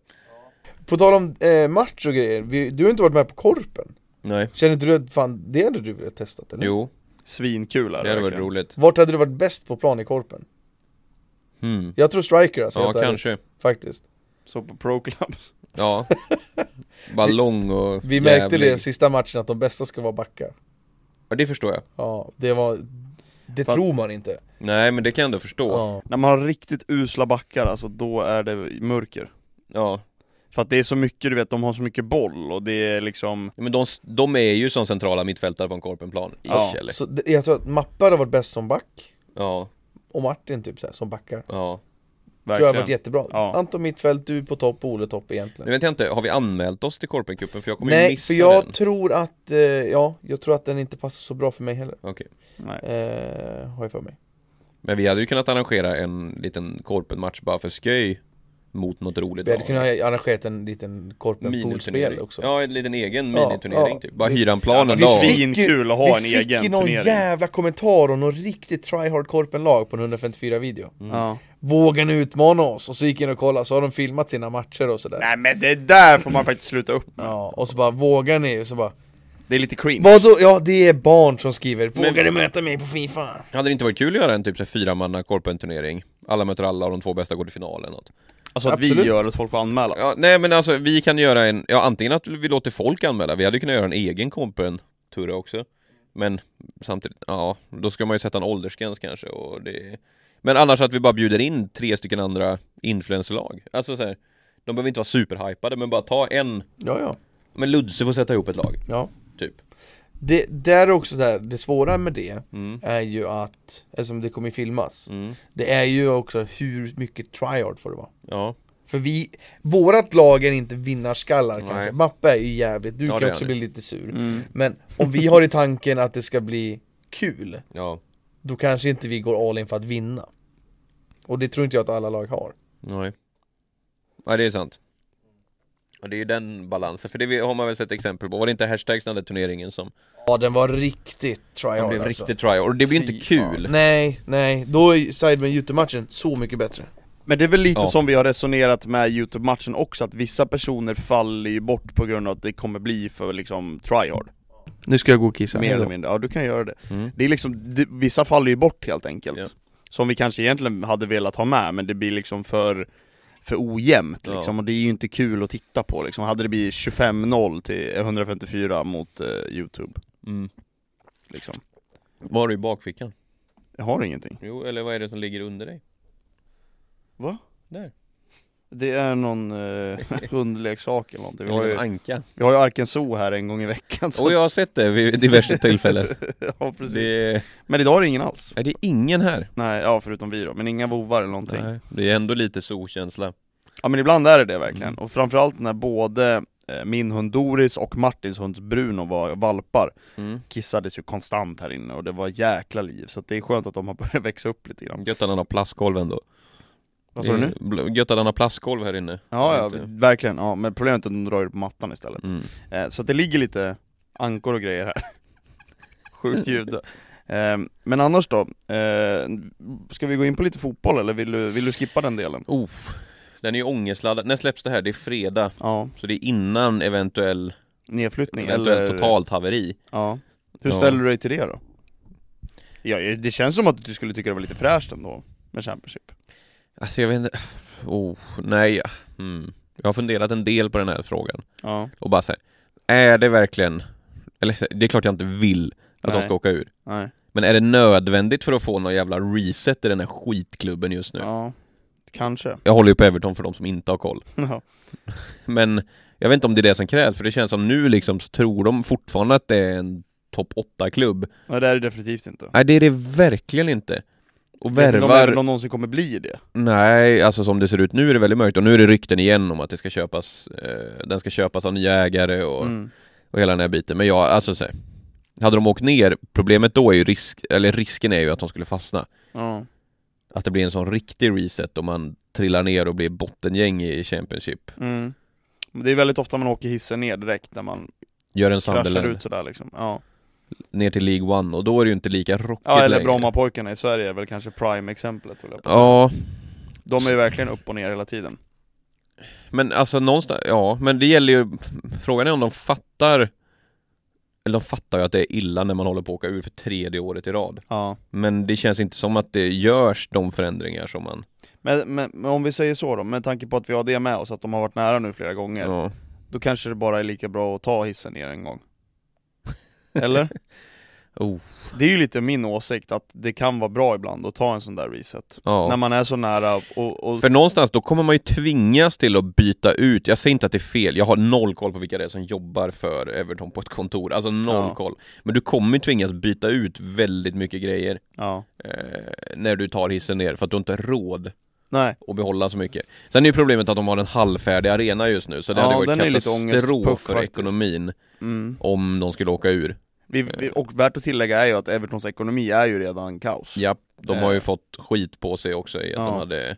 C: På tal om eh, match och grejer, vi, du har inte varit med på korpen
B: Nej
C: Känner inte du att fan, det hade du velat testat eller?
B: Jo,
A: Svinkul är
B: det hade varit
A: verkligen.
B: roligt
C: Vart hade du varit bäst på plan i korpen?
B: hmm.
C: Jag tror striker alltså,
B: Ja,
C: helt ärligt,
B: kanske
C: faktiskt
A: Så på pro clubs
B: Ja Bara lång och
C: Vi märkte
B: jävlig.
C: det sista matchen att de bästa ska vara backar
B: Ja, det förstår jag
C: Ja, det var... Det
A: Fan.
C: tror man inte
B: Nej men det kan jag ändå förstå Ja,
C: ja.
A: När man har riktigt usla backar, alltså då är det mörker För att det är så mycket, du vet, de har så mycket boll och det är liksom
B: Men de, de är ju som centrala mittfältare på en korpenplan
A: Ja,
B: Ish, eller?
C: Så det, jag tror att Mappa hade varit bäst som back
B: Ja,
C: Och Martin typ så här, som backar
B: ja
C: tror jag har
A: verkligen.
C: varit jättebra
A: Ja.
C: Anton mittfält, du på topp och Ole topp egentligen
B: Nu vet jag inte, har vi anmält oss till Korpencupen? För jag kommer ju
C: Nej,
B: missa
C: för jag
B: den
C: tror att, eh, ja, jag tror att den inte passar så bra för mig heller
B: Okej.
A: Nej.
C: eh, Har jag för mig
B: Men vi hade ju kunnat arrangera en liten Korpenmatch bara för sköj Mot något roligt
C: Vi hade
B: lag.
C: kunnat arrangera en liten korpen poolspel
B: Miniturnering.
C: också
B: Ja, en liten egen
C: Ja,
B: miniturnering
C: ja.
B: typ Bara
C: Vi-
B: hyra en plan en
A: det är
B: dag
A: fint. Svinkul att ha en
C: Vi fick ju
A: egen
C: någon
A: turnering.
C: jävla kommentar om någon riktigt tryhard korpenlag på en 154 video
A: Ja.
C: Vågar ni utmana oss? Och så gick jag in och kollade, så har de filmat sina matcher och sådär
A: Nej men det där får man faktiskt sluta upp med.
C: Ja, och så bara vågar ni? Och så bara
A: Det är lite cringe.
C: Vadå? Ja det är barn som skriver Vågar ni möta mig på Fifa?
B: Hade det inte varit kul att göra en typ så här fyramanna Korpen-turnering? Alla möter alla och de två bästa går till final eller något
A: Alltså att
C: Absolut.
A: vi gör att folk får anmäla.
B: Ja, nej men alltså vi kan göra en, ja antingen att vi låter folk anmäla, vi hade ju kunnat göra en egen kompen turra också Men samtidigt, ja, då ska man ju sätta en åldersgräns kanske och det Men annars att vi bara bjuder in tre stycken andra influencerlag, alltså så här, De behöver inte vara superhypade men bara ta en,
C: Ja ja,
B: men Ludse får sätta ihop ett lag,
C: ja
B: typ
C: Det där är också där, det svåra med det
B: Mm.
C: är ju att Eftersom det kommer filmas
B: Mm.
C: Det är ju också hur mycket tryhard får det vara
B: Ja,
C: För vi, vårat lag är inte vinnarskallar kanske Mappe är ju jävligt, du
B: Ja, det
C: kan
B: är
C: också
B: han
C: bli lite sur
A: Mm.
C: Men om vi har i tanken att det ska bli kul
B: ja,
C: Då kanske inte vi går all in för att vinna Och det tror inte jag att alla lag har
B: nej Nej det är sant Ja det är ju den balansen, för det har man väl sett exempel på, var det inte hashtags den där turneringen som
C: Ja den var riktigt tryhard
B: blev
C: alltså.
B: riktigt try och det blir ju
A: Fy
B: inte
A: fan.
B: kul
C: Nej, nej, då är Sidemen Youtube-matchen så mycket bättre
A: Men det är väl lite
B: Ja.
A: som vi har resonerat med Youtube-matchen också, att vissa personer faller ju bort på grund av att det kommer bli för liksom tryhard.
C: Nu ska jag gå och kissa
A: Mer eller mindre, ja du kan göra det.
B: Mm.
A: Det är liksom, det, vissa faller ju bort helt enkelt.
B: Ja.
A: Som vi kanske egentligen hade velat ha med, men det blir liksom för, för ojämnt
B: Ja.
A: liksom, och det är ju inte kul att titta på liksom. Hade det blivit 25-0 till 154 mot eh, Youtube,
B: Mm.
A: liksom.
B: Vad har du i bakfickan?
A: Jag har ingenting.
B: Jo, eller vad är det som ligger under dig?
A: Va?
B: Där.
A: Det är någon eh, hundleksak eller någonting. Vi har,
B: Eller en
A: ju,
B: anka.
A: vi har ju Arken Zoo här en gång i veckan. så-
B: Och jag har sett det vid diverse tillfällen.
A: ja, precis.
B: Oh, det, är,
A: Men idag är det ingen alls.
B: nej, det är ingen här.
A: Nej, ja förutom vi då, men inga vovar eller någonting.
B: Nej, det är ändå lite zookänsla.
A: Ja men ibland är det det verkligen,
B: Mm.
A: och framförallt när både eh, min hund Doris och Martins hund Bruno var valpar
B: Mm.
A: Kissades ju konstant här inne och det var jäkla liv, så att det är skönt att de har börjat växa upp lite grann
B: Gött att han har plastgolv ändå.
A: Vad sa du nu?
B: nu? Gött att han har plastgolv här inne.
A: Ja, ja
B: Inte-
A: verkligen, ja, men problemet är att de drar ju på mattan istället
B: Mm.
A: eh, Så att det ligger lite ankor och grejer här Sjukt ljud eh, Men annars då, eh, ska vi gå in på lite fotboll eller vill du, vill du skippa den delen?
B: Oh, den är ju ångestladdad. När släpps det här? Det är fredag.
A: Ja,
B: Så det är innan eventuell,
A: nedflyttning
B: eventuellt
A: eller?
B: totalt haveri.
A: Ja. Hur
B: Ja.
A: ställer du dig till det då? Ja, jag- det känns som att du skulle tycka det var lite fräscht ändå med Championship.
B: Alltså jag vet inte. Oh, nej. Mm. Jag har funderat en del på den här frågan.
A: Ja.
B: och bara säga Är det verkligen Eller så här, det är klart jag inte vill att
A: Nej.
B: de ska åka ur
A: Nej.
B: Men är det nödvändigt för att få någon jävla reset i den här skitklubben just nu?
A: Ja. Kanske.
B: Jag håller ju på Everton för de som inte har koll
A: Ja.
B: Men jag vet inte om det är det som krävs för det känns som nu liksom så tror de fortfarande att det är en topp 8-klubb
A: Nej, det är det definitivt inte.
B: Nej det är det verkligen inte och
A: Vet inte om
B: värvar,
A: även de någonsin kommer bli det.
B: nej alltså som det ser ut nu är det väldigt mörkt och nu är det rykten igen om att det ska köpas, eh, den ska köpas av nya ägare och
A: Mm.
B: och hela den här biten. Men jag, alltså så här, hade de åkt ner, problemet då är ju risk, eller risken är ju att de skulle fastna.
A: Ja.
B: Att det blir en sån riktig reset om man trillar ner och blir bottengäng i Championship.
A: Mm. Men det är väldigt ofta man åker hissen ner direkt när man
B: Gör en
A: kraschar ut
B: Sunderland
A: sådär liksom. Ja,
B: ner till League One och då är det ju inte lika rockigt
A: ja eller
B: längre.
A: Brommapojkarna i Sverige är väl kanske prime-exemplet. vill jag på.
B: Ja,
A: De är ju verkligen upp och ner hela tiden.
B: men alltså någonstans, ja, men det gäller ju, frågan är om de fattar eller de fattar ju att det är illa när man håller på att åka ur för tredje året i rad.
A: Ja.
B: Men det känns inte som att det görs de förändringar som man...
A: Men, men, men om vi säger så då, med tanke på att vi har det med oss, att de har varit nära nu flera gånger.
B: Ja.
A: Då kanske det bara är lika bra att ta hissen ner en gång Eller?
B: Oh,
A: Det är ju lite min åsikt att det kan vara bra ibland att ta en sån där reset
B: ja.
A: När man är så nära och, och
B: För någonstans då kommer man ju tvingas till att byta ut, jag säger inte att det är fel, jag har noll koll på vilka det är som jobbar för Everton på ett kontor, alltså noll
A: Ja.
B: koll. Men du kommer ju tvingas byta ut väldigt mycket grejer
A: ja,
B: eh, när du tar hissen ner för att du inte har råd
A: Nej,
B: och behålla så mycket. Sen är ju problemet att de har en halvfärdig arena just nu, så det
A: Ja,
B: hade
A: den är
B: varit
A: lite
B: katastrof
A: ångestpuff
B: för
A: faktiskt.
B: ekonomin
A: mm.
B: om de skulle åka ur.
A: vi,
B: Eh.
A: vi, och värt att tillägga är ju att Evertons ekonomi är ju redan kaos
B: Ja, de har ju fått skit på sig också i att
A: Eh. Ja.
B: de hade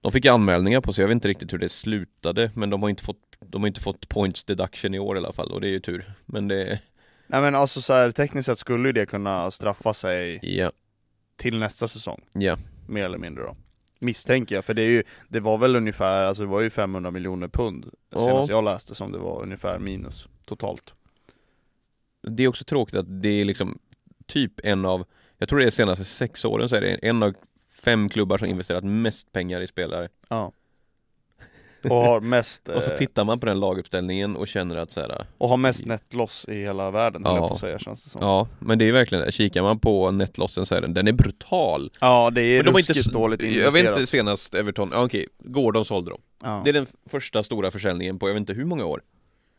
B: De fick anmälningar på sig, jag vet inte riktigt hur det slutade men de har inte fått De har inte fått points deduction i år i alla fall och det är ju tur Men det,
A: Nej men alltså så här, tekniskt sett skulle ju det kunna straffa sig
B: ja,
A: till nästa säsong,
B: ja
A: mer eller mindre då Misstänker jag, för det är ju, det var väl ungefär, alltså det var ju 500 miljoner pund
B: Ja.
A: Senast jag läste som det var ungefär minus totalt
B: Det är också tråkigt att det är liksom Typ en av Jag tror det är de senaste sex åren så är det en av fem klubbar som investerat mest pengar i spelare
A: Ja Och har mest,
B: Och så
A: eh,
B: tittar man på den laguppställningen och känner att så här,
A: och har mest nettloss i hela världen höll
B: Ja.
A: jag på att säga känns det som Ja,
B: Ja, men det är verkligen det. Kikar man på netlossen så är den, den är brutal
A: det är
B: Men de har
A: ruskigt
B: inte,
A: dåligt
B: Jag
A: investerat
B: vet inte senast Everton, ja, okej, Gordon sålde dem
A: ja.
B: Det är den f- första stora försäljningen på jag vet inte hur många år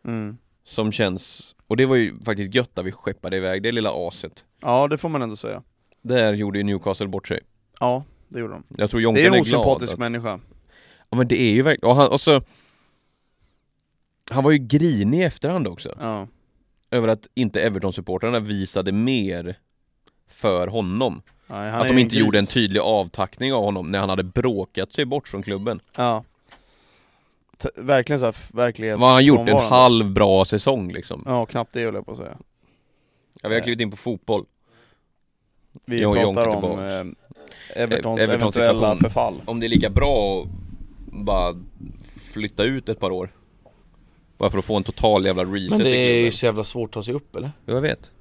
A: Mm.
B: Som känns, och det var ju faktiskt gött att vi skeppade iväg det lilla aset
A: ja, det får man ändå säga
B: Där gjorde ju Newcastle bort sig
A: Ja, det gjorde de
B: Jag tror
A: Det
B: Jonken
A: är en
B: är glad
A: osympatisk
B: att,
A: människa
B: Ja men det är ju verkligen, och han, och så Han var ju grinig i efterhand också
A: Ja,
B: Över att inte Everton-supportrarna visade mer För honom
A: Nej, han är
B: Att de
A: ju
B: inte gjorde en
A: gris.
B: tydlig avtackning av honom när han hade bråkat sig bort från klubben
A: Ja T- Verkligen såhär verklighet
B: Vad har han gjort? En halv bra säsong liksom?
A: Ja, knappt det höll jag på att säga
B: Ja, vi har klivit in på fotboll
A: Vi
B: Jo,
A: pratar
B: Jonker
A: om
B: tillbaks.
A: eh, Evertons
B: Eh, Evertons
A: eventuella
B: situation.
A: förfall
B: Om det är lika bra att bara flytta ut ett par år Bara för att få en total jävla reset
C: Men det
B: i
C: är ju
B: klubben.
C: så jävla svårt att ta sig upp eller?
B: Jag vet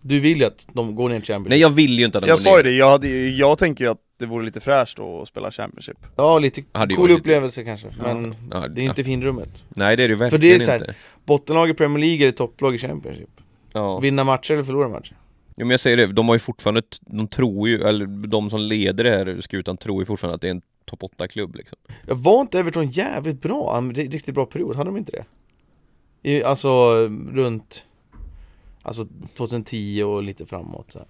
C: Du vill ju att de går ner till Champions
B: Nej jag vill ju inte att de
A: Jag
B: går
A: sa ju
B: ner.
A: det, jag, hade, ju- jag tänker ju att det vore lite fräscht då att spela Championship
C: Ja, lite
B: Hade ju
C: cool
B: varit lite-
C: upplevelse kanske Men
B: Ja,
C: det är inte finrummet
B: Nej det är det ju verkligen
C: För det är så här-
B: inte
C: Bottenlag i Premier League eller topplag i Championship
B: ja.
C: Vinna matcher eller förlora matcher
B: Jo men jag säger det, de har ju fortfarande, t- de tror ju, eller de som leder det här skutan tror ju fortfarande att det är en topp 8-klubb liksom
C: Ja, Var inte Everton jävligt bra? En ri- riktigt bra period, hade de inte det? I, alltså runt Alltså 2010 och lite framåt så här.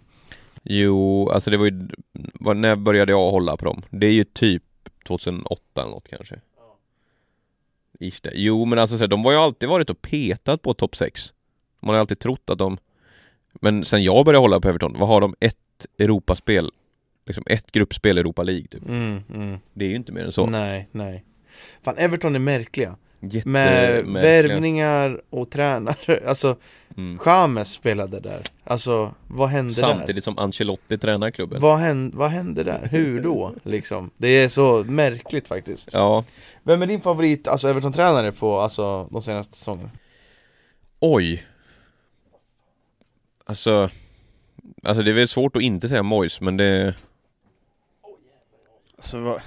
B: Jo, alltså det var ju, var, när började jag hålla på dem? Det är ju typ 2008 eller något kanske Ish det. Jo men alltså så här, de har ju alltid varit och petat på topp 6 Man har alltid trott att de Men sen jag började hålla på Everton, vad har de? Ett Europaspel Liksom ett gruppspel i Europa League typ
C: Mm, mm.
B: Det är ju inte mer än så
C: Nej, nej Fan Everton är märkliga
B: Jätte-
C: Med
B: märkliga.
C: värvningar och tränare Alltså
B: Mm.
C: James spelade där Alltså vad hände där?
B: Samtidigt som Ancelotti tränar klubben
C: Vad hände, vad hände där? Hur då? Liksom. Det är så märkligt faktiskt
B: Ja
C: Vem är din favorit, alltså Everton-tränare på alltså, de senaste säsongerna?
B: Oj Alltså Alltså det är väl svårt att inte säga Moyes men det
A: Alltså vad,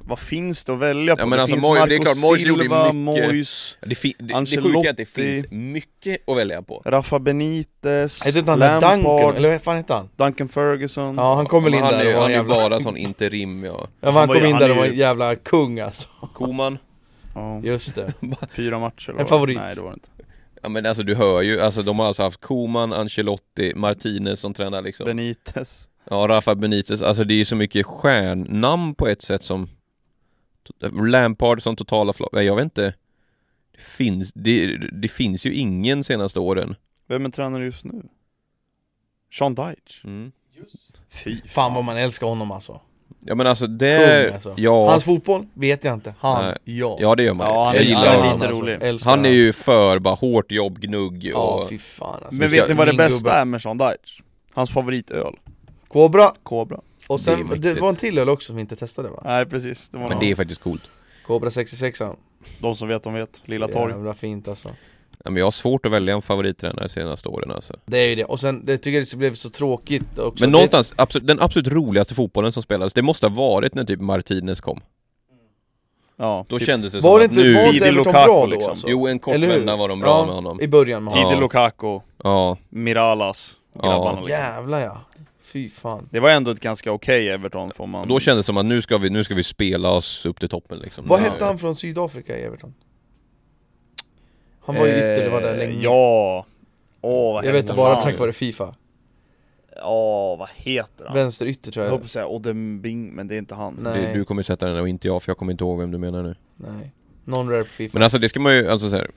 A: vad finns det att välja på?
B: Ja, men
A: det
B: alltså,
A: finns
B: Moy-
A: Marco
B: det är klart, Moyes gjorde ju
A: Silva,
B: mycket.
A: Moyes,
B: Det, fi- det, det
A: Ancelotti.
B: sjuka är att det finns mycket att välja på
A: Rafa Benitez,
C: Hette inte han där
A: Lampard,
C: Duncan, eller vad fan hette han?
A: Duncan Ferguson
C: Ja han kom väl in
B: han är
C: där och
B: ju
C: var en
B: han är ju
C: jävla... Ja,
B: bara sån interim ja
C: men
A: Han
C: han
A: var
C: kom
A: ju-
C: in
A: han
C: där
A: är
C: och var en
A: ju-
C: jävla kung alltså
B: Koman
A: Ja,
C: Just det
A: Fyra matcher eller
C: En
A: vad?
C: favorit.
A: Nej det var det inte
B: Ja men alltså du hör ju, alltså de har alltså haft Koman, Ancelotti, Martinez som tränar liksom
A: Benitez
B: Ja, Rafa Benitez, alltså det är ju så mycket stjärnnamn på ett sätt som Lampard som totala flopp, nej jag vet inte det finns, det, det finns ju ingen senaste åren
A: Vem är tränare just nu? Sean Dyche?
C: Mm.
A: Fy
C: Fan vad man älskar honom alltså
B: Ja men alltså
C: Kung
B: det,
C: alltså
B: ja,
C: Hans fotboll vet jag inte, han,
B: Nej.
C: ja
B: ja det gör man
A: Ja, han är
B: Jag
A: lite-
B: gillar
A: han är
B: honom alltså.
A: lite rolig.
C: alltså. älskar
B: Han är ju för bara hårt jobb, gnugg och...
C: Ja fy fan alltså
A: Men
B: ska-
A: vet ni vad det
C: min
A: bästa
C: gubbe.
A: är med Sean Dyche? Hans favoritöl,
C: Kobra!
A: Cobra
C: Och
B: Det är
C: sen, det,
B: mäktigt.
C: var en till öl också som vi inte testade va?
A: Nej precis, det var
B: Men
A: någon.
B: det är faktiskt coolt
C: Kobra 66 an
A: de som vet de vet, Lilla Torg
C: Jävla fint alltså
B: Ja, men jag har svårt att välja en favorittränare de senaste åren alltså.
C: Det är ju det, och sen det tycker jag det blev så tråkigt också
B: Men
C: Det-
B: någonstans, absolut, den absolut roligaste fotbollen som spelades, det måste ha varit när typ Martinez kom
A: Ja,
B: Då
A: typ.
B: kändes det
C: Var
B: som
C: det
B: att
C: inte,
B: nu...
C: var
A: Tidig
C: inte Everton
A: Lukaku,
C: bra då
A: liksom.
C: alltså?
B: Jo, en kort
C: Eller hur?
B: vända var de bra med honom
C: I början med
A: Tidig
B: Ja.
A: Lukaku,
B: Ja,
A: Miralas, grabbarna
B: Ja.
A: liksom.
C: Jävlar ja, fy fan
B: Mm.
A: Det var ändå ett ganska okej Everton får man
B: och då kändes det som att nu ska vi, nu ska vi spela oss upp till toppen liksom
C: Vad
B: Nu-
C: hette han från Sydafrika i Everton? Han var ju
A: Eh,
B: Eh,
C: ytter, det var där länge
A: Ja! Åh vad
C: Jag
A: hände
C: vet det bara
A: han?
C: tack vare Fifa
A: ja vad heter han?
C: Vänster ytter tror
A: Jag
C: jag.
A: höll på att säga Odembing, men det är inte han.
C: Nej.
B: Du, du kommer sätta den där och inte jag för jag kommer inte ihåg vem du menar nu
C: Nej. Non-rare FIFA.
B: Men alltså det ska man ju, alltså så här,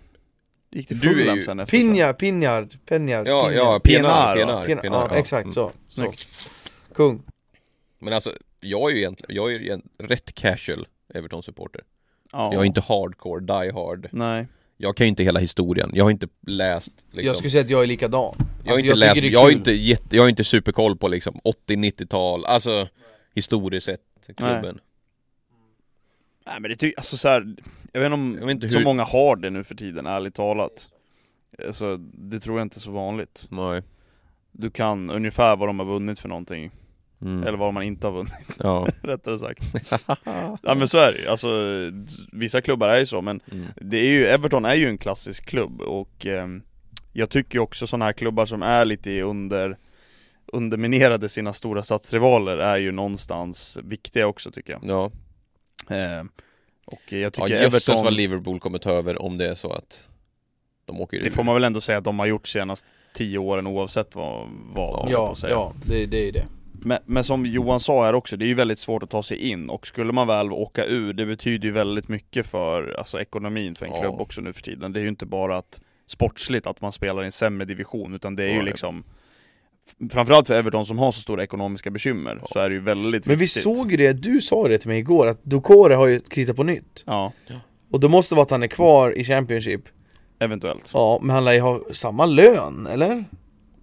A: Gick till
B: Du är
A: Fulham
B: ju-
A: sen efter.
C: Pinja, pinjar, penjar,
B: Ja,
C: pinjar.
B: ja,
A: Pienaar,
B: penar,
A: va?
B: penar,
C: Pena, ja, exakt
B: Mm.
C: så. så.
A: Snyggt.
C: Kung.
B: Men alltså, jag är ju egentligen, jag är ju egent- rätt casual Everton-supporter
A: Ja.
B: Jag är inte hardcore, die hard
A: Nej.
B: Jag kan ju inte hela historien, jag har inte läst liksom
C: Jag skulle säga att jag är likadan.
B: Jag har
C: Alltså,
B: inte
C: jag
B: läst,
C: tycker det är
B: jag har
C: kul.
B: inte, jätte, jag har inte superkoll på liksom 80-90-tal, alltså historiskt sett klubben
A: Nej men det tycker, alltså så här, jag vet inte om
B: Jag vet inte
A: så
B: hur-
A: många har det nu för tiden, ärligt talat. Alltså, det tror jag inte är så vanligt.
B: Nej.
A: Du kan ungefär vad de har vunnit för någonting,
B: Mm.
A: eller vad man inte har vunnit,
B: Ja.
A: rättare sagt. ja men så är det ju. alltså vissa klubbar är ju så, men
B: Mm.
A: det är ju, Everton är ju en klassisk klubb och ehm, jag tycker ju också sådana här klubbar som är lite i under underminerade sina stora stadsrivaler är ju någonstans viktiga också tycker jag.
B: Ja,
A: Ehm, och jag
B: ja
A: tycker
B: jösses
A: Everton...
B: vad Liverpool kommer ta över om det är så att de åker ur
A: Det får man väl ändå säga att de har gjort senaste tio åren oavsett vad, vad
B: Ja,
A: håller jag på
C: Ja,
A: att säga.
C: ja det, det är det.
A: Men, men som Johan sa här också, det är ju väldigt svårt att ta sig in och skulle man väl åka ur, det betyder ju väldigt mycket för alltså, ekonomin för en
B: Ja.
A: klubb också nu för tiden. Det är ju inte bara att sportsligt att man spelar i en sämre division utan det är ju
B: Nej.
A: liksom f- Framförallt för Everton som har så stora ekonomiska bekymmer så är det ju väldigt
C: Men vi
A: viktigt.
C: såg ju det, du sa det till mig igår, att Doucouré har ju kritat på nytt.
A: Ja,
C: Och det måste vara att han är kvar i Championship.
A: eventuellt.
C: Ja, men han lär ju ha samma lön, eller?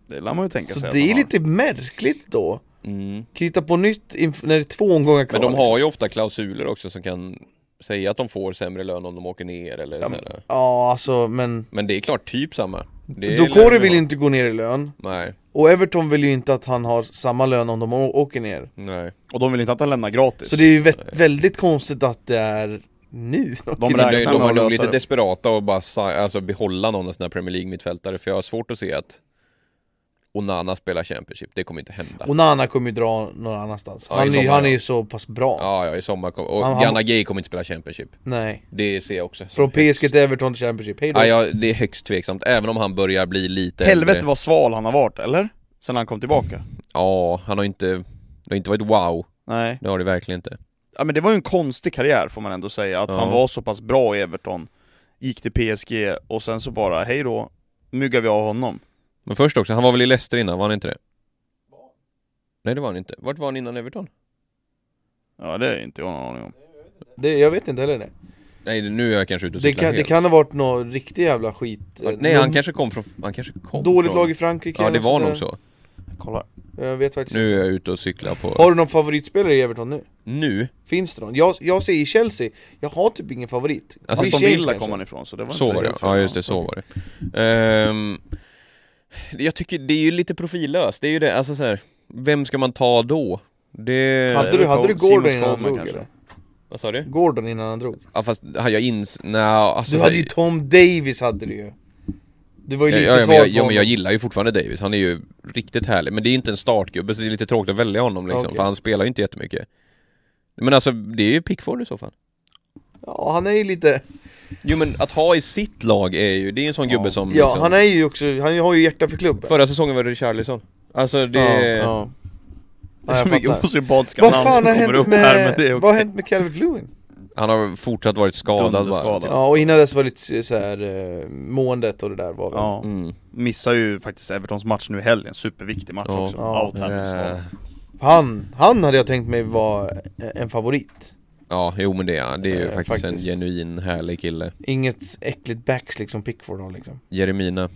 A: Det lär man ju tänka
C: Så
A: sig att
C: det
A: de
C: är
A: har.
C: lite märkligt då.
B: Mm.
C: Krita på nytt inf- när det är två omgångar kvar.
B: Men de
C: liksom.
B: har ju ofta klausuler också som kan säga att de får sämre lön om de åker ner eller ja, sådär.
C: Ja, alltså men...
B: Men det är klart, typ samma Det är lön
C: Doucouré
B: vi
C: vill
B: har.
C: ju inte gå ner i lön.
B: Nej,
C: Och Everton vill ju inte att han har samma lön om de å- åker ner.
B: nej
A: Och de vill inte att han lämnar gratis.
C: Så det är ju vä- väldigt konstigt att det är nu
A: De
B: Men
A: räknar
B: de,
A: med
B: de
A: att
B: var nog
A: lösa
B: lite
A: det.
B: desperata och bara sa- alltså, behålla någon av sina Premier League-mittfältare för jag har svårt att se att Onana spelar Championship, det kommer inte hända
C: Och Nana kommer ju dra någon annanstans
B: Ja, i
C: Han, är,
B: sommar,
C: han är
B: ja.
C: ju så pass bra
B: Ja, ja, i sommar kommer... Och
C: Han- han-
B: Ghana Gay kommer inte spela Championship
C: Nej
B: Det ser jag också som
C: Från PSG
B: högst-
C: till Everton till Championship, hejdå
B: ja, ja, det är högst tveksamt, även om han börjar bli lite
A: Helvete
B: äldre.
A: vad sval han har varit, eller? Sen han kom tillbaka.
B: Ja, han har inte... Det har inte varit wow,
A: Nej.
B: det har det verkligen inte
A: ja men det var ju en konstig karriär får man ändå säga, att
B: Ja.
A: han var så pass bra i Everton Gick till PSG och sen så bara, hej då, myggar vi av honom
B: Men först också, han var väl i Leicester innan, var han inte det? Nej det var han inte, vart var han innan Everton?
A: Ja det är inte jag någon aning om
C: det, Jag vet inte heller det
B: Nej nu är jag kanske ute och
C: Det
B: cyklar
C: kan, det
B: helt.
C: kan ha varit någon riktig jävla skit Eh,
B: Nej han
C: någon-
B: kanske kom från, han kanske kom
C: Dåligt
B: från...
C: lag i alltså, Frankrike
B: Ja
C: eller
B: det var
C: sådär.
B: nog så
A: Kolla
C: Jag vet faktiskt
B: Nu är jag ute och cyklar på...
C: Har du någon favoritspelare i Everton nu?
B: Nu,
C: Finns det någon? Jag, jag säger Chelsea, jag har typ ingen favorit
B: Alltså,
A: Aston
C: Aston James
A: Villa
C: kanske.
A: kom han ifrån så det var
B: så
A: inte
B: var det
A: helt fel.
B: ja just det, så var det Ehm, Jag tycker det är ju lite profillöst, det är ju det, alltså så här. Vem ska man ta då? Det...
C: Hade du, hade du
A: Cole-
C: Gordon
A: Simons
C: innan han
A: Coleman
C: drog
A: kanske.
C: eller?
B: Vad sa du?
C: Gordon innan han drog?
B: Ja fast, jag ins... Nej, alltså,
C: Du
B: så
C: hade
B: här-
C: ju Tom Davis hade du ju Du var ju
B: Ja,
C: lite
B: ja, men
C: svag
B: jag,
C: på
B: ja, men jag
C: honom.
B: gillar ju fortfarande Davis, han är ju riktigt härlig Men det är ju inte en startgubbe så det är lite tråkigt att välja honom liksom,
C: Okej.
B: för han spelar ju inte jättemycket Men alltså, det är ju Pickford i så fall
C: Ja, han är ju lite
B: Mm, Jo men att ha i sitt lag är ju, det är ju en sån gubbe som
C: Ja,
B: liksom,
C: han är ju också, han har ju hjärta för klubben
B: Förra säsongen var det Richarlison Alltså det...
C: ja, ja.
A: Det är så
C: Ja, jag
A: mycket
C: fattar.
A: osympatiska
C: Vad
A: namn
C: fan har
A: som kommer upp
C: hänt
A: här men det är
C: med,
A: okej.
C: vad har hänt med Calvert Lewin?
B: Han har fortsatt varit skadad bara
A: Dunderskadad.
C: Ja och innan dess var det lite så här eh, måendet och det där var väl
A: Ja,
B: mm.
A: missar ju faktiskt Evertons match nu i helgen, superviktig match
B: Ja.
A: också
C: Ja.
A: Out här med skada.
B: Eh,
C: Han, han hade jag tänkt mig var eh, en favorit
B: Ja, jo men det är han. Det är ju
C: Eh,
B: faktiskt,
C: faktiskt.
B: en genuin härlig kille
C: Inget äckligt backslick som Pickford har liksom
B: Jeremina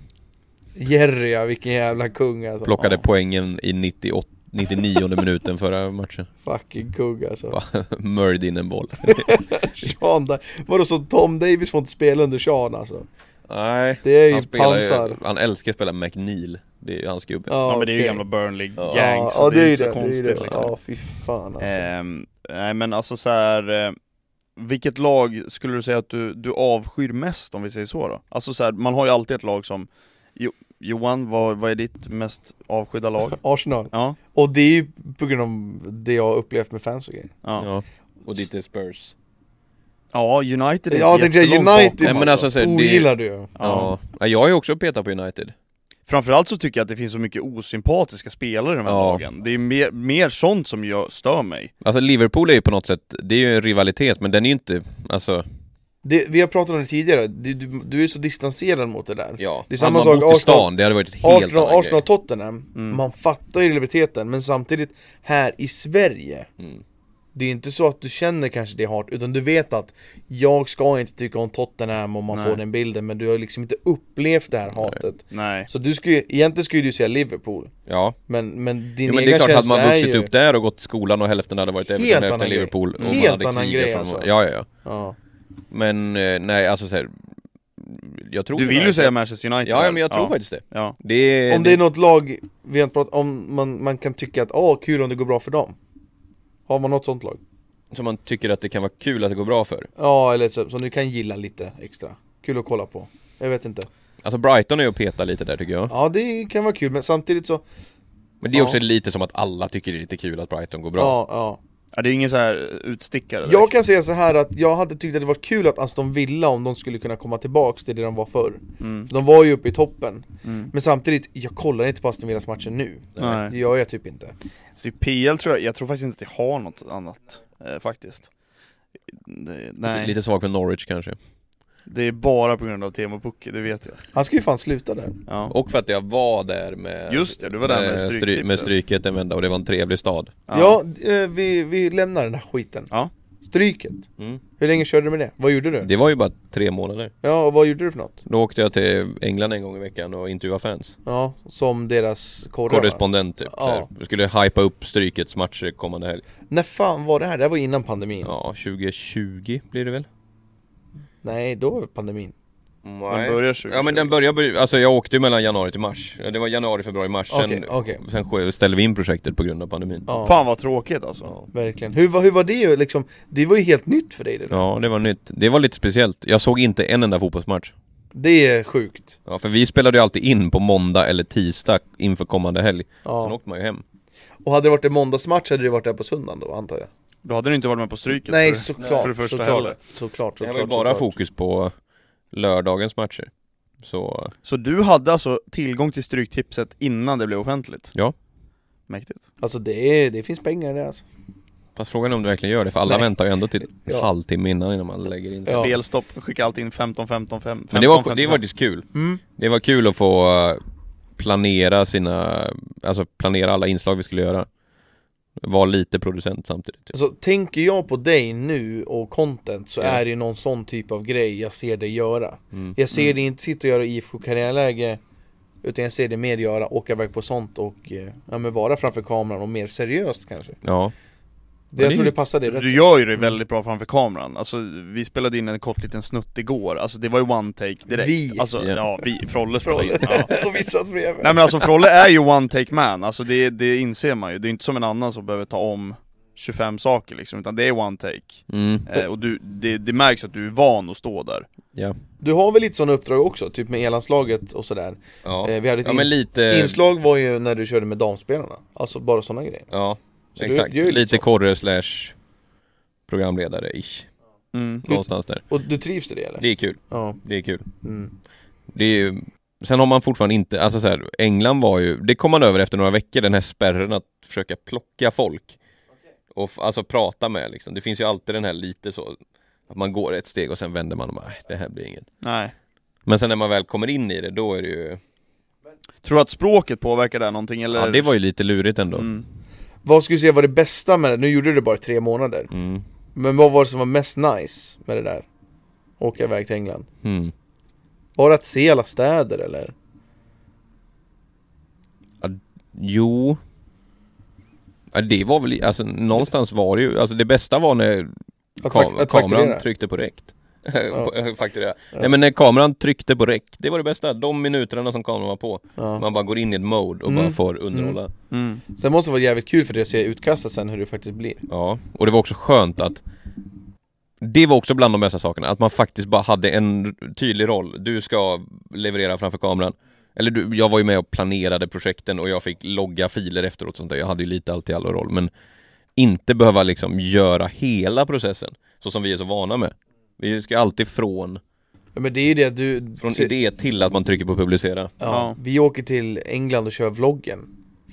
C: Jerry ja, vilken jävla kung alltså
B: plockade poängen i 98, 99 minuten förra matchen
C: Fucking kung alltså
B: Bara Mörd in en boll
C: Sean där, vadå så Tom Davis får inte spela under Sean alltså?
B: Nej
C: Det är ju
B: han, spelar ju,
C: pansar
B: han älskar att spela McNeil Det är ju hans gubbe
A: Ja men det är ju
C: okej.
A: gamla Burnley
B: Ja.
A: gang så
C: Ja
A: det är ju
C: det,
A: så
C: det är
A: konstigt
C: det.
A: liksom
C: Ja fy fan alltså
A: Ehm, nej men alltså så här. eh, vilket lag skulle du säga att du, du avskyr mest om vi säger så då? Alltså så här, man har ju alltid ett lag som jo, Johan, vad, vad är ditt mest avskydda lag?
C: Arsenal
A: Ja,
C: Och det är ju på grund av det jag har upplevt med fans och grejer
A: ja.
B: Ja. Och ditt är Spurs
A: ja United är
C: Jag
A: inte
C: tänkte säga
A: jättelångt
B: alltså,
C: United
A: bakom,
B: Nej, men alltså, så här, det-
C: Ogillar du ju
B: Ja, ja. Jag är också petat på United
A: Framförallt så tycker jag att det finns så mycket osympatiska spelare i de här
B: Ja.
A: lagen. Det är mer, mer sånt som jag stör mig.
B: Alltså Liverpool är ju på något sätt, det är ju en rivalitet men den är ju inte, alltså
C: Det, vi har pratat om det tidigare, du, du, du är så distanserad mot det där
B: Ja,
C: Det är
B: det
C: samma
B: man
C: sak,
B: bott i
C: Arsenal-
B: stan, det hade varit ett helt annan
C: Arsenal, Arsenal
B: grej Mm.
C: och Tottenham, man fattar ju rivaliteten men samtidigt här i Sverige
B: Mm.
C: Det är inte så att du känner kanske det hårt utan du vet att Jag ska inte tycka om Tottenham om man
A: Nej.
C: får den bilden men du har liksom inte upplevt det här hatet
A: Nej.
C: Så du skulle, egentligen skulle du säga Liverpool
B: Ja,
C: Men, men din
B: jo, men det
C: egen
B: är klart, hade
C: känsla
B: man
C: är
B: vuxit
C: ju...
B: upp där och gått i skolan och hälften hade varit Everton
C: Helt
B: och hälften
C: annan grej.
B: Liverpool och
C: Helt
B: man hade
C: annan
B: krigat
C: grej,
B: fram och-
C: alltså.
B: Ja, ja, ja
C: Ja.
B: Men, eh, nej alltså såhär Jag tror
A: Du vill ju
B: verkligen-
A: säga Manchester United
B: Ja, ja
A: här.
B: men jag tror faktiskt det
A: Ja.
B: Det är,
C: Om det är något lag, vi har inte pratat om, man, man kan tycka att åh kul om det går bra för dem Har man något sånt lag?
B: som man tycker att det kan vara kul att det går bra för
C: Ja eller så, som du kan gilla lite extra Kul att kolla på, jag vet inte
B: Alltså Brighton är ju och petar lite där tycker jag
C: Ja det kan vara kul men samtidigt så
B: Men det är också
C: Ja.
B: lite som att alla tycker det är lite kul att Brighton går bra
C: Ja, ja
A: Ja, det är ingen så här utstickare direkt.
C: Jag kan säga så här att jag hade tyckt att det var kul att Aston Villa om de skulle kunna komma tillbaks till det de var förr För De var ju uppe i toppen Men samtidigt, jag kollar inte på Aston Villas matcher nu
A: Nej.
C: Det gör jag typ inte
A: Så i PL tror jag, jag tror faktiskt inte att jag har något annat, eh, faktiskt. Det, nej,
B: Lite- Lite svag för Norwich kanske
A: det är bara på grund av Temo Pukki, det vet jag.
C: Han ska ju fan sluta där
A: Ja.
B: Och för att jag var där med
A: Just det, du var där med
B: stry-
A: stryktipset.
B: med stryket en vända och det var en trevlig stad
C: Ja, eh, vi, vi lämnar den här skiten
A: Ja.
C: Stryket
B: Mm.
C: Hur länge körde du med det? Vad gjorde du?
B: Det var ju bara tre månader
C: Ja, och vad gjorde du för något?
B: Då åkte jag till England en gång i veckan och intervjuade fans
C: Ja, som deras korre va?
B: Korrespondent typ
C: Ja.
B: ja. Jag skulle hypa upp Strykets matcher kommande helg
C: När fan var det här? Det här var innan pandemin
B: Ja, 2020 blir det väl?
C: Nej, då var det pandemin
A: Den börjar 2020.
B: Ja men den börjar, börjar- alltså jag åkte ju mellan januari till mars Ja, Det var januari, februari, mars Sen,
C: Okej, okej.
B: sen sk- ställde vi in projektet på grund av pandemin
C: Ja,
A: Fan vad tråkigt alltså.
C: verkligen hur, var- hur var det ju liksom? Det var ju helt nytt för dig det där.
B: Ja, det var nytt Det var lite speciellt Jag såg inte en enda fotbollsmatch
C: Det är sjukt
B: Ja, för vi spelade ju alltid in på måndag eller tisdag inför kommande helg Sen
C: Ja.
B: åkte man ju hem
C: Och hade det varit en måndagsmatch hade det varit där på söndagen då antar jag
A: Då hade du inte varit med på stryket
C: Nej
A: för,
C: såklart,
A: för det första heller.
C: såklart, såklart, såklart
B: Det var ju bara
C: såklart.
B: fokus på lördagens matcher Så,
A: Så du hade alltså tillgång till Stryktipset innan det blev offentligt?
B: Ja.
A: Mäktigt.
C: Alltså det, är, det finns pengar i det alltså
B: fast frågan är om det verkligen gör det för alla
C: Nej.
B: väntar ju ändå till
C: Ja.
B: halvtimme innan innan man lägger in
C: Ja.
A: Spelstopp, skicka allt in 15, 15, 5, 15,
B: Men det var,
A: 15,
B: det var faktiskt kul
C: Mm.
B: Det var kul att få eh, planera sina, alltså planera alla inslag vi skulle göra Var lite producent samtidigt typ.
C: Alltså tänker jag på dig nu och content så
B: Ja. Mm.
C: är det någon sån typ av grej jag ser dig göra Jag ser dig inte sitta och göra IFK karriärläge Utan jag ser dig mer göra, åka iväg på sånt och eh, ja, men vara framför kameran och mer seriöst kanske
B: Ja,
C: det, Jag
B: det-
C: tror det passar dig rätt
A: Du gör ju det väldigt bra framför kameran, alltså vi spelade in en kort liten snutt igår, alltså det var ju one take direkt
C: Vi.
A: Alltså,
B: Ja.
A: ja, vi, Frolle spelade in ja.
C: Och vi satt bredvid
A: Nej men alltså Frolle är ju one take man, alltså det, det inser man ju, det är inte som en annan som behöver ta om 25 saker liksom, utan det är one take
B: mm,
A: eh, Och du, det, det märks att du är van att stå där
B: ja,
C: Du har väl lite sådana uppdrag också, typ med elanslaget och sådär
B: ja.
C: Eh, Vi hade ett
B: ja men
C: ins-
B: lite
C: inslag var ju när du körde med damspelarna Alltså bara sådana grejer
B: Ja,
C: Så du-
B: exakt,
C: du är lite
B: lite
C: så.
B: korre slash programledare ish
A: mm.
B: Någonstans där
C: Och du trivs i det eller?
B: Det är kul,
C: Ja,
B: det är kul
C: mm.
B: Det är ju Sen har man fortfarande inte, alltså så här, England var ju, det kom man över efter några veckor den här spärren att försöka plocka folk Och f- alltså prata med liksom, det finns ju alltid den här lite så Att man går ett steg och sen vänder man och bara, "Nej, det här blir inget
A: Nej
B: Men sen när man väl kommer in i det då är det ju,
A: Tror du att språket påverkar där någonting eller?
B: ja det var ju lite lurigt ändå mm.
A: mm.
C: Vad skulle du säga var det bästa med det? Nu gjorde du det bara i tre månader
B: Mm.
C: Men vad var det som var mest nice med det där?
B: Mm.
C: Åka iväg till England? Var det att se alla städer eller?
B: Jo ja, det var väl, alltså någonstans var det ju, alltså det bästa var när
C: Att,
B: Kam-
C: fak- att
B: kameran
C: fakturera?
B: tryckte på räckt. På- fakturera. Nej men när kameran tryckte på räck, det var det bästa. De minuterna som kameran var på. Man bara går in i ett mode och bara får underhålla.
A: Mm.
C: Sen måste det vara jävligt kul för dig att se utkastet sen hur det faktiskt blir
B: Ja, och det var också skönt att det var också bland de bästa sakerna, att man faktiskt bara hade en tydlig roll. Du ska leverera framför kameran. Eller du, jag var ju med och planerade projekten och jag fick logga filer efteråt och sånt där. Jag hade ju lite allt i all roll, men inte behöva liksom göra hela processen så som vi är så vana med. Vi ska alltid från
C: Ja, Men det är ju det att du...
B: Från
C: se-
B: idé till att man trycker på publicera
A: Ja.
C: ja, vi åker till England och kör vloggen.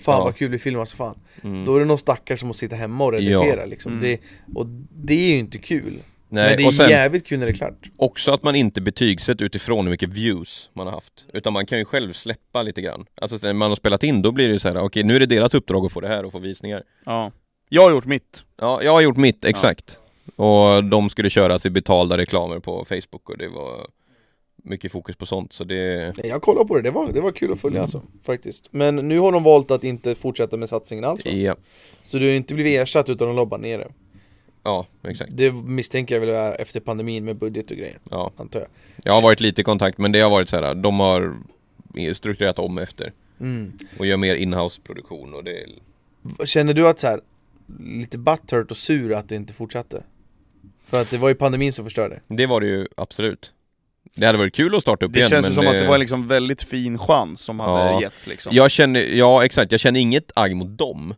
C: Fan
B: Ja.
C: vad kul, vi filmar så fan.
B: Mm.
C: Då är det någon stackare som måste sitta hemma och redigera
B: Ja.
C: liksom. det, Och det är ju inte kul.
B: Nej,
C: Men det är
B: och sen
C: jävligt kul när det är klart.
B: också att man inte betygsätter utifrån hur mycket views man har haft Utan man kan ju själv släppa lite grann Alltså när man har spelat in då blir det ju så här: okej nu är det deras uppdrag att få det här och få visningar
A: Ja. Jag har gjort mitt.
B: Ja, jag har gjort mitt, exakt Och de skulle köra sig betalda reklamer på Facebook och det var mycket fokus på sånt så det
C: Nej, Jag kollade på det, det var, det var kul att följa alltså, faktiskt. Men nu har de valt att inte fortsätta med satsningen alls va?
B: Ja,
C: Så du har inte blivit ersatt utan de lobbar ner det.
B: ja exakt
C: Det misstänker jag väl är efter pandemin med budget och grejer,
B: ja.
C: antar jag.
B: Jag har varit lite i kontakt men det har varit så här. de har strukturerat om efter
C: Mm.
B: och gör mer inhouse-produktion och det är
C: Känner du att så här lite butthurt och sur att det inte fortsatte? För att det var ju pandemin som förstörde.
B: Det var det ju absolut Det hade varit kul att starta upp
A: Det
B: igen
A: känns
B: men
A: ju som att det var en liksom väldigt fin chans som hade
B: Ja.
A: getts liksom.
B: Jag känner, ja exakt, jag känner inget agg mot dem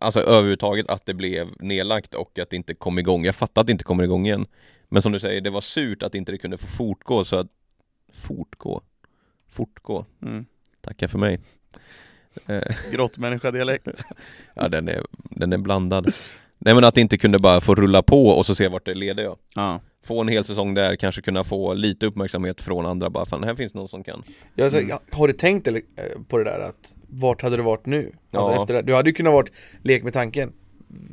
B: Alltså överhuvudtaget att det blev nedlagt och att det inte kom igång Jag fattar att det inte kommer igång igen Men som du säger, det var surt att inte det kunde få fortgå så att Fortgå? Fortgå,
A: Mm.
B: tacka för mig Eh,
A: Grottmänniska-dialekt.
B: Ja den är, den är blandad Nej men att det inte kunde bara få rulla på och så se vart det leder ja
A: Ja.
B: Få en hel säsong där, kanske kunna få lite uppmärksamhet från andra bara Fan här finns någon som kan
C: Jag, alltså, Har du tänkt eller- eh, på det där att vart hade du varit nu? Alltså
B: Ja.
C: efter det. Du hade ju kunnat varit lek med tanken.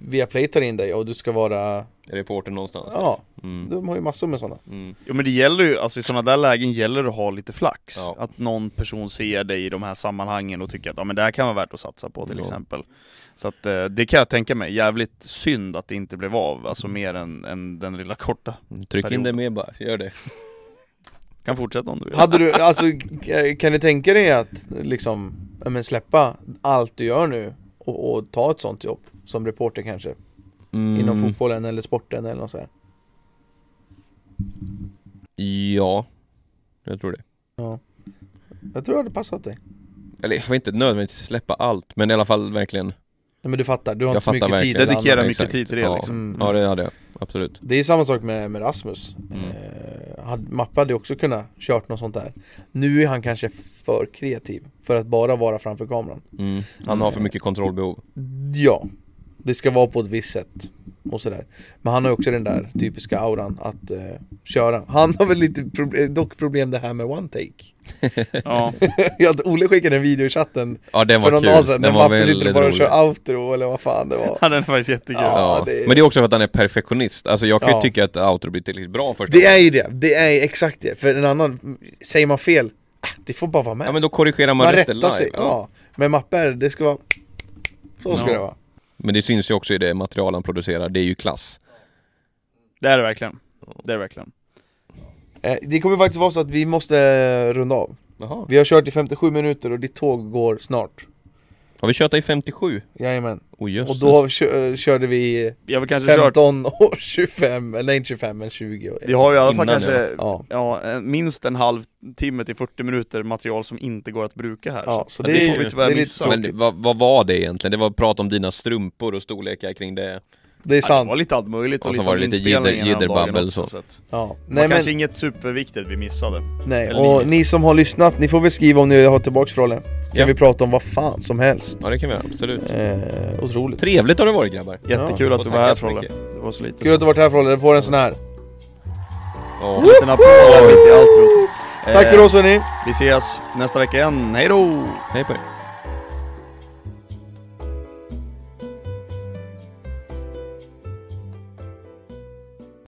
C: Via Play tar in dig och du ska vara,
B: reporter någonstans
C: ja,
B: Mm.
C: de har ju massor med sådana.
B: Mm.
A: Jo men det gäller ju, alltså i sådana där lägen gäller det att ha lite flax.
B: Ja.
A: Att någon person ser dig i de här sammanhangen och tycker att ja, men det här kan vara värt att satsa på till
B: Ja.
A: exempel. Så att eh, det kan jag tänka mig, jävligt synd att det inte blev av, alltså mer än, än den lilla korta.
B: Tryck in
A: Period.
B: det med bara, gör det
A: Kan fortsätta om du vill.
C: Hade du, alltså k- kan du tänka dig att liksom, ja, men släppa allt du gör nu och, och ta ett sånt jobb? Som reporter kanske,
B: Mm,
C: inom fotbollen eller sporten eller något sånt här.
B: Ja, jag tror det
C: Jag tror det hade passat dig.
B: Eller jag vill inte nödvändigtvis släppa allt, men i alla fall verkligen
C: Nej, men du fattar, du har
B: Jag
C: inte så
B: fattar
C: mycket tid
B: verkligen.
C: till det
A: Dedikera
C: andra.
A: mycket
B: exakt.
A: tid till det
B: Ja.
A: liksom.
C: Mm.
B: Ja det hade jag, absolut
C: Det är samma sak med, med Rasmus.
B: Mm.
C: Eh, hade- Mappe hade ju också kunnat kört något sånt där. Nu är han kanske för kreativ för att bara vara framför kameran.
B: mm. Han har för mycket kontrollbehov
C: Ja, det ska vara på ett visst sätt och sådär. Men han har ju också den där typiska auran att eh, köra. Han har väl lite proble- dock problem det här med one take.
A: Ja.
C: Ja, att Olle skickade en video i chatten
B: Ja den var
C: för någon
B: kul,
C: dag sedan när
B: den var
C: Mappe sitter
B: väldigt
C: bara och
B: rolig
C: kör outro eller vad fan det var.
A: ja, den är faktiskt jättekul.
C: Ja.
B: Ja,
C: det är-
B: men det är också för att han är perfektionist Alltså jag kan
C: Ja.
B: ju tycka att outro blir tillräckligt bra först
C: Det är ju det, det är ju exakt det. För en annan, säger man fel, ah, det får bara vara med.
B: Ja men då korrigerar man,
C: man
B: resten
C: rättar
B: live
C: sig. Ja.
B: Ja.
C: Men mappar, det ska vara... Så ska
A: Ja.
C: det vara.
B: Men det syns ju också i det material han producerar, det är ju klass
A: Det är det verkligen. Det är det verkligen.
C: Eh, Det kommer faktiskt vara så att vi måste eh, runda av.
B: Jaha.
C: Vi har kört i 57 minuter och ditt tåg går snart.
B: Har vi kört i 57?
C: Jajamän.
B: Oh, just
C: Och då har vi kö- eh, körde vi
A: Vi har väl kanske kört,
C: 15 och 25, eller inte 25 men 20.
A: vi har ju i alla fall
B: Innan,
A: kanske
C: Ja.
A: Ja, eh, minst en halv timme till 40 minuter material som inte går att bruka här.
C: Ja,
A: så
C: så
A: det,
C: det, är
A: får
C: ju-
A: vi
C: det
A: tyvärr
C: är lite
A: missa.
B: Men
C: tråkigt.
B: det- vad, vad var det egentligen? Det var prat om dina strumpor och storlekar kring det
A: Ja,
C: Det är
A: det
C: sant.
A: var lite allt möjligt och,
B: Och så
A: lite
B: var
A: om
B: det lite
A: inspelningen
B: jidder-
A: den dagen
B: jidderbabbel
A: också,
B: så.
A: att-
C: Ja.
A: Nej,
C: Nej,
A: men...
C: men,
A: kanske inget superviktigt vi missade.
C: nej.
A: eller
C: Och
A: minst.
C: ni som har lyssnat, ni får väl skriva om ni har tillbaks Frolle. Kan
B: Ja.
C: vi prata om vad fan som helst.
B: Ja det kan vi göra, absolut
C: Eh, otroligt.
B: Trevligt har det varit grabbar
A: Jättekul att
B: Och
A: du
B: tack
A: var här
B: så
A: Frolle.
B: mycket.
A: Det var så lite.
C: Kul att du varit här Frolle, du får en sån här.
A: Eh.
B: Ja.
A: En liten applåd här mitt i outrot.
C: Tack för
A: Eh,
C: oss hörni!
A: Vi ses nästa vecka igen, hejdå!
B: Hej på er